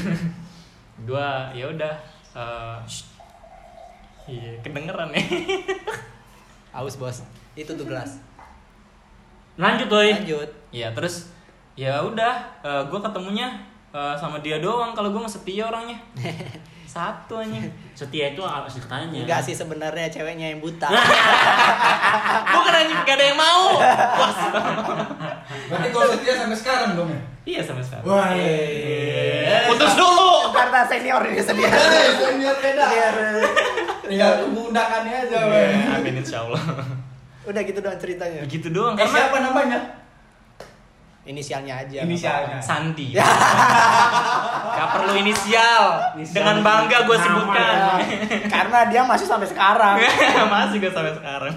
[SPEAKER 4] gue ya udah eh, iya kedengeran ya
[SPEAKER 3] Aus, Bos. Itu tuh gelas.
[SPEAKER 2] Lanjut doi.
[SPEAKER 3] Lanjut.
[SPEAKER 4] Iya terus ya udah gue ketemunya eh, sama dia doang kalau gue nggak setia orangnya satu anjing
[SPEAKER 2] Setia itu apa sih katanya?
[SPEAKER 3] Enggak sih sebenarnya ceweknya yang buta.
[SPEAKER 4] Bukan anjing gak ada yang mau.
[SPEAKER 1] Berarti gue setia sampai sekarang dong ya.
[SPEAKER 4] Iya sama sekali.
[SPEAKER 1] Wah.
[SPEAKER 4] Putus dulu.
[SPEAKER 3] Oh, Karena seniornya sendiri.
[SPEAKER 1] Hei, senior beda.
[SPEAKER 3] Biar, eh,
[SPEAKER 1] tinggal kegundakannya aja Iya, weh.
[SPEAKER 4] Ya, amin insya Allah
[SPEAKER 3] Udah gitu doang ceritanya.
[SPEAKER 4] gitu doang
[SPEAKER 1] eh
[SPEAKER 4] karena
[SPEAKER 1] siapa namanya
[SPEAKER 3] Inisialnya aja.
[SPEAKER 1] inisialnya
[SPEAKER 4] Santi gak perlu inisial dengan bangga gue
[SPEAKER 2] Nama.
[SPEAKER 4] sebutkan
[SPEAKER 3] ya. Karena dia masih sampai sekarang.
[SPEAKER 4] masih gue sampai sekarang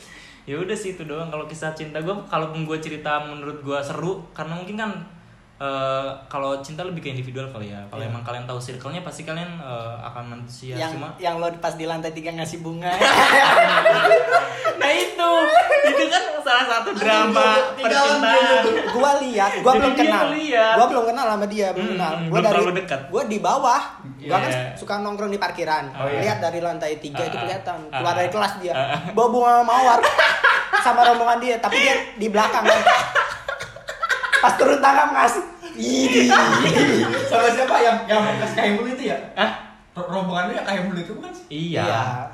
[SPEAKER 4] ya udah sih itu doang kalau kisah cinta gue kalaupun gue cerita menurut gue seru karena mungkin kan eh, kalau cinta lebih ke individual kali ya kalau emang kalian tahu circle-nya pasti kalian eh, akan manusia
[SPEAKER 3] yang
[SPEAKER 4] cuma
[SPEAKER 3] yang lo pas di lantai tiga ngasih bunga.
[SPEAKER 4] nah itu itu kan salah satu drama percintaan
[SPEAKER 3] gua lihat, gua
[SPEAKER 4] Jadi
[SPEAKER 3] belum
[SPEAKER 4] dia
[SPEAKER 3] kenal.
[SPEAKER 4] ngeliat.
[SPEAKER 3] Gua belum kenal sama dia, belum
[SPEAKER 4] Hmm,
[SPEAKER 3] kenal.
[SPEAKER 4] hmm,
[SPEAKER 3] Gua
[SPEAKER 4] belum
[SPEAKER 3] dari
[SPEAKER 4] terlalu dekat.
[SPEAKER 3] gua di bawah. Gua kan
[SPEAKER 4] Iya.
[SPEAKER 3] suka nongkrong di parkiran.
[SPEAKER 4] Oh, iya.
[SPEAKER 3] Lihat dari lantai tiga
[SPEAKER 4] Ah,
[SPEAKER 3] itu
[SPEAKER 4] ah,
[SPEAKER 3] kelihatan.
[SPEAKER 4] ah,
[SPEAKER 3] Keluar dari
[SPEAKER 4] ah.
[SPEAKER 3] kelas dia.
[SPEAKER 4] Ah, ah.
[SPEAKER 3] Bawa bunga mawar sama rombongan dia, tapi dia di belakang. kan. Pas turun tangan ngasih. Ih,
[SPEAKER 1] sama siapa yang yang bekas kayak mulu itu ya
[SPEAKER 4] Hah?
[SPEAKER 1] Ro- rombongan lu yang kayak mulu itu bukan sih
[SPEAKER 3] Iya.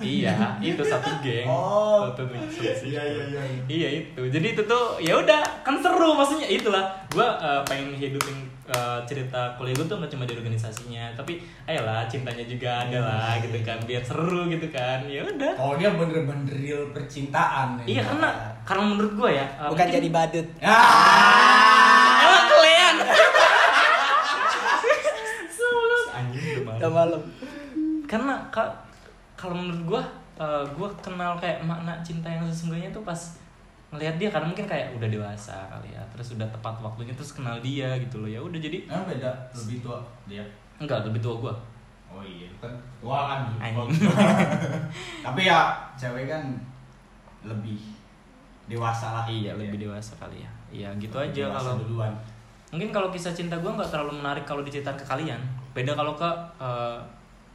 [SPEAKER 4] Iya, iya, itu satu geng.
[SPEAKER 1] Oh.
[SPEAKER 4] satu geng. satu
[SPEAKER 1] Iya, iya, iya.
[SPEAKER 4] Iya itu. Jadi itu tuh ya udah kan seru maksudnya itulah. Gua eh, pengen hidupin eh, cerita kuliah gue tuh nggak cuma di organisasinya, tapi ayolah cintanya juga
[SPEAKER 1] Iya,
[SPEAKER 4] ada lah gitu kan biar seru gitu kan. Ya udah.
[SPEAKER 1] oh dia bener-bener real percintaan ya.
[SPEAKER 4] Iya karena karena menurut gue ya
[SPEAKER 3] Bukan
[SPEAKER 4] eh, mungkin-
[SPEAKER 3] jadi badut.
[SPEAKER 1] ah
[SPEAKER 4] Emang kalian. Sulut. Anjing udah malam.
[SPEAKER 3] Udah malam.
[SPEAKER 4] karena ka- kalau menurut gua eh, gua kenal kayak makna cinta yang sesungguhnya tuh pas ngelihat dia karena mungkin kayak udah dewasa kali ya terus udah tepat waktunya terus kenal dia gitu loh ya udah jadi
[SPEAKER 1] emang beda lebih tua dia
[SPEAKER 4] enggak lebih tua gua
[SPEAKER 1] oh iya kan tua kan
[SPEAKER 4] Anjing.
[SPEAKER 1] tapi ya cewek kan lebih dewasa lah
[SPEAKER 4] iya lebih dewasa kali ya iya gitu
[SPEAKER 1] Lebih
[SPEAKER 4] aja
[SPEAKER 1] dewasa
[SPEAKER 4] kalau
[SPEAKER 1] duluan
[SPEAKER 4] mungkin kalau kisah cinta gua nggak terlalu menarik kalau diceritain ke kalian beda kalau ke eh,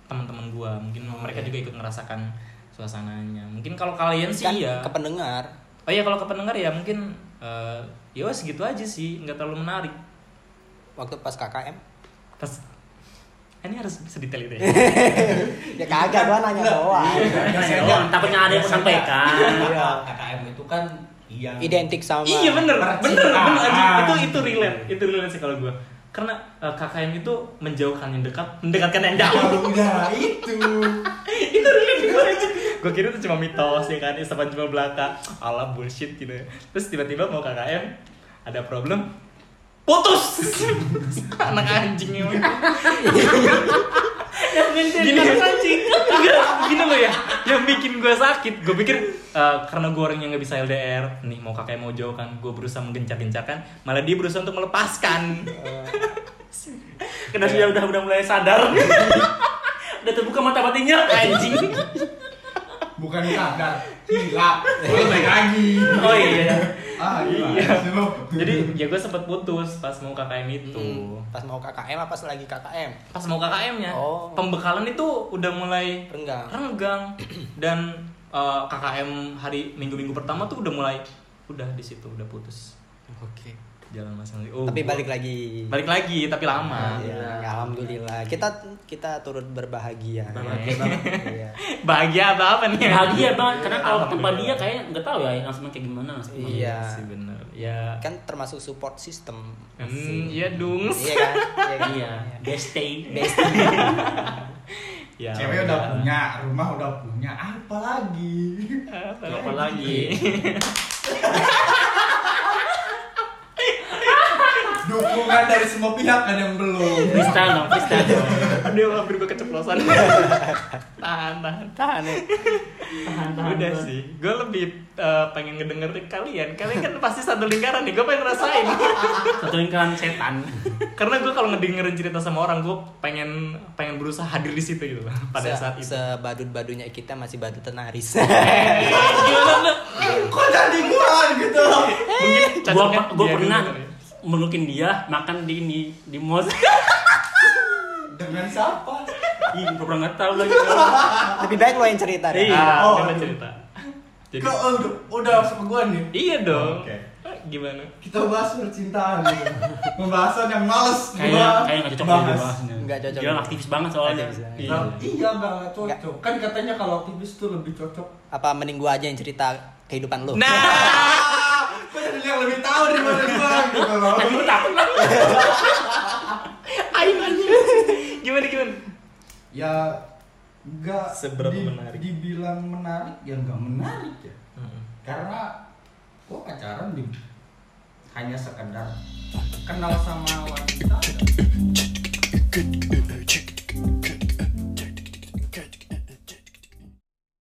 [SPEAKER 4] teman-teman gua mungkin mereka juga ikut ngerasakan suasananya mungkin kalau kalian sih
[SPEAKER 3] Kan
[SPEAKER 4] iya
[SPEAKER 3] ke pendengar.
[SPEAKER 4] Oh iya kalau ke pendengar ya mungkin eh ya wes gitu aja sih, nggak terlalu menarik.
[SPEAKER 3] Waktu pas KKM.
[SPEAKER 4] Pas "Ah, ini harus bisa detail itu ya.
[SPEAKER 3] Ya kagak gua nanya doang.
[SPEAKER 4] Iya.
[SPEAKER 2] Nanya doang, takutnya ada yang menyampaikan.
[SPEAKER 1] Iya. KKM itu kan yang
[SPEAKER 3] Identik sama.
[SPEAKER 4] iya bener,
[SPEAKER 1] Percintaan.
[SPEAKER 4] bener, bener, anjing. itu itu relate, itu relate sih kalau gua Karena eh, KKM itu menjauhkan yang dekat, mendekatkan yang
[SPEAKER 1] Ya
[SPEAKER 4] jauh.
[SPEAKER 1] udah itu.
[SPEAKER 4] itu relate gue aja. Gue kira itu cuma mitos ya kan, ya sama cuma belaka. Alah bullshit gitu. ya. Terus tiba-tiba mau KKM, ada problem, putus. Anak anjing ya, emang. gini anjing enggak gini loh ya yang bikin gue sakit gue pikir eh, karena gue orangnya nggak bisa LDR nih mau kakek mau jauh kan gue berusaha menggencar-gencarkan malah dia berusaha untuk melepaskan
[SPEAKER 2] Karena dia udah udah mulai sadar. udah terbuka mata batinnya anjing.
[SPEAKER 1] Bukan sadar, gila. Boleh balik lagi.
[SPEAKER 4] oh iya
[SPEAKER 1] Ah, gimana
[SPEAKER 4] Iya.
[SPEAKER 1] sih lu?
[SPEAKER 4] jadi ya gue sempet putus pas mau KKM itu
[SPEAKER 3] Hmm, Pas mau KKM apa pas lagi KKM?
[SPEAKER 4] pas mau KKM-nya
[SPEAKER 3] Oh.
[SPEAKER 4] ya, pembekalan itu udah mulai
[SPEAKER 3] Renggang.
[SPEAKER 4] renggang dan eh, KKM hari minggu-minggu pertama tuh udah mulai udah di situ udah putus
[SPEAKER 3] Oke.
[SPEAKER 4] jalan masing oh,
[SPEAKER 3] Tapi
[SPEAKER 4] gua-
[SPEAKER 3] balik lagi.
[SPEAKER 4] balik lagi tapi lama
[SPEAKER 3] Ya, alhamdulillah. Kita kita turut berbahagia.
[SPEAKER 2] Bahagia
[SPEAKER 3] Iya.
[SPEAKER 4] bahagia apa apa nih
[SPEAKER 2] Bahagia banget karena kalau ke tempat dia kayaknya nggak tahu ya langsung kayak gimana langsung.
[SPEAKER 3] Iya.
[SPEAKER 4] sih bener ya
[SPEAKER 3] Kan termasuk support system.
[SPEAKER 4] hmm, ya dungs
[SPEAKER 3] Iya kan? Iya. kan?
[SPEAKER 2] Iya, best day.
[SPEAKER 4] ya
[SPEAKER 1] Cewek udah punya, rumah udah punya, apa lagi?
[SPEAKER 2] Apa lagi?
[SPEAKER 1] Dukungan dari semua pihak ada yang belum.
[SPEAKER 2] Freestyle dong, freestyle dong.
[SPEAKER 4] aduh hampir gue keceplosan tahan tahan
[SPEAKER 3] Tahan ya.
[SPEAKER 2] Tahan, tahan,
[SPEAKER 4] udah
[SPEAKER 2] tahan.
[SPEAKER 4] sih gue lebih eh, pengen ngedengerin kalian kalian kan pasti satu lingkaran nih gue pengen ngerasain
[SPEAKER 2] Satu lingkaran kan setan.
[SPEAKER 4] karena gue kalau ngedengerin cerita sama orang gue pengen pengen berusaha hadir di situ gitu loh pada
[SPEAKER 3] Se-
[SPEAKER 4] saat itu
[SPEAKER 3] Sebadut-badunya kita masih badut tenaris.
[SPEAKER 4] gimana lu?
[SPEAKER 1] Eh, Kok jadi gua gitu?
[SPEAKER 4] mungkin
[SPEAKER 2] Gua
[SPEAKER 4] cocoknya
[SPEAKER 2] gua
[SPEAKER 4] dia dulu
[SPEAKER 2] pernah
[SPEAKER 4] kali ya.
[SPEAKER 2] melukin dia makan di ini di mos.
[SPEAKER 1] Dengan siapa?
[SPEAKER 2] Ih, gua pernah nggak tahu lagi.
[SPEAKER 3] Lebih baik lo yang cerita deh.
[SPEAKER 4] iya
[SPEAKER 1] Oh.
[SPEAKER 4] dia cerita jadi
[SPEAKER 1] Kok oh, udah, udah sama gua nih?
[SPEAKER 4] iya dong
[SPEAKER 1] Oke.
[SPEAKER 4] Eh, gimana
[SPEAKER 1] Kita bahas percintaan gitu. Pembahasan yang males
[SPEAKER 2] Kayak kayak nggak cocok dia
[SPEAKER 1] bahas.
[SPEAKER 2] bahasnya.
[SPEAKER 3] Nggak cocok.
[SPEAKER 2] Dia aktivis banget soalnya.
[SPEAKER 3] Aktivis ya. banget.
[SPEAKER 1] Nah, iya nggak nggak
[SPEAKER 3] Nggak.
[SPEAKER 1] cocok. Kan katanya kalau aktivis tuh lebih cocok.
[SPEAKER 3] Apa mending gua aja yang cerita kehidupan lo?
[SPEAKER 4] nah
[SPEAKER 1] Kok jadi yang lebih tahu daripada gua gitu loh.
[SPEAKER 2] Lu takut lah.
[SPEAKER 4] ayo aja gimana gimana
[SPEAKER 1] Ya nggak
[SPEAKER 4] Seberapa menarik? Hmm.
[SPEAKER 1] dibilang menarik ya nggak menarik ya
[SPEAKER 4] Mm-mm.
[SPEAKER 1] karena gua pacaran di hanya sekedar kenal sama wanita dan-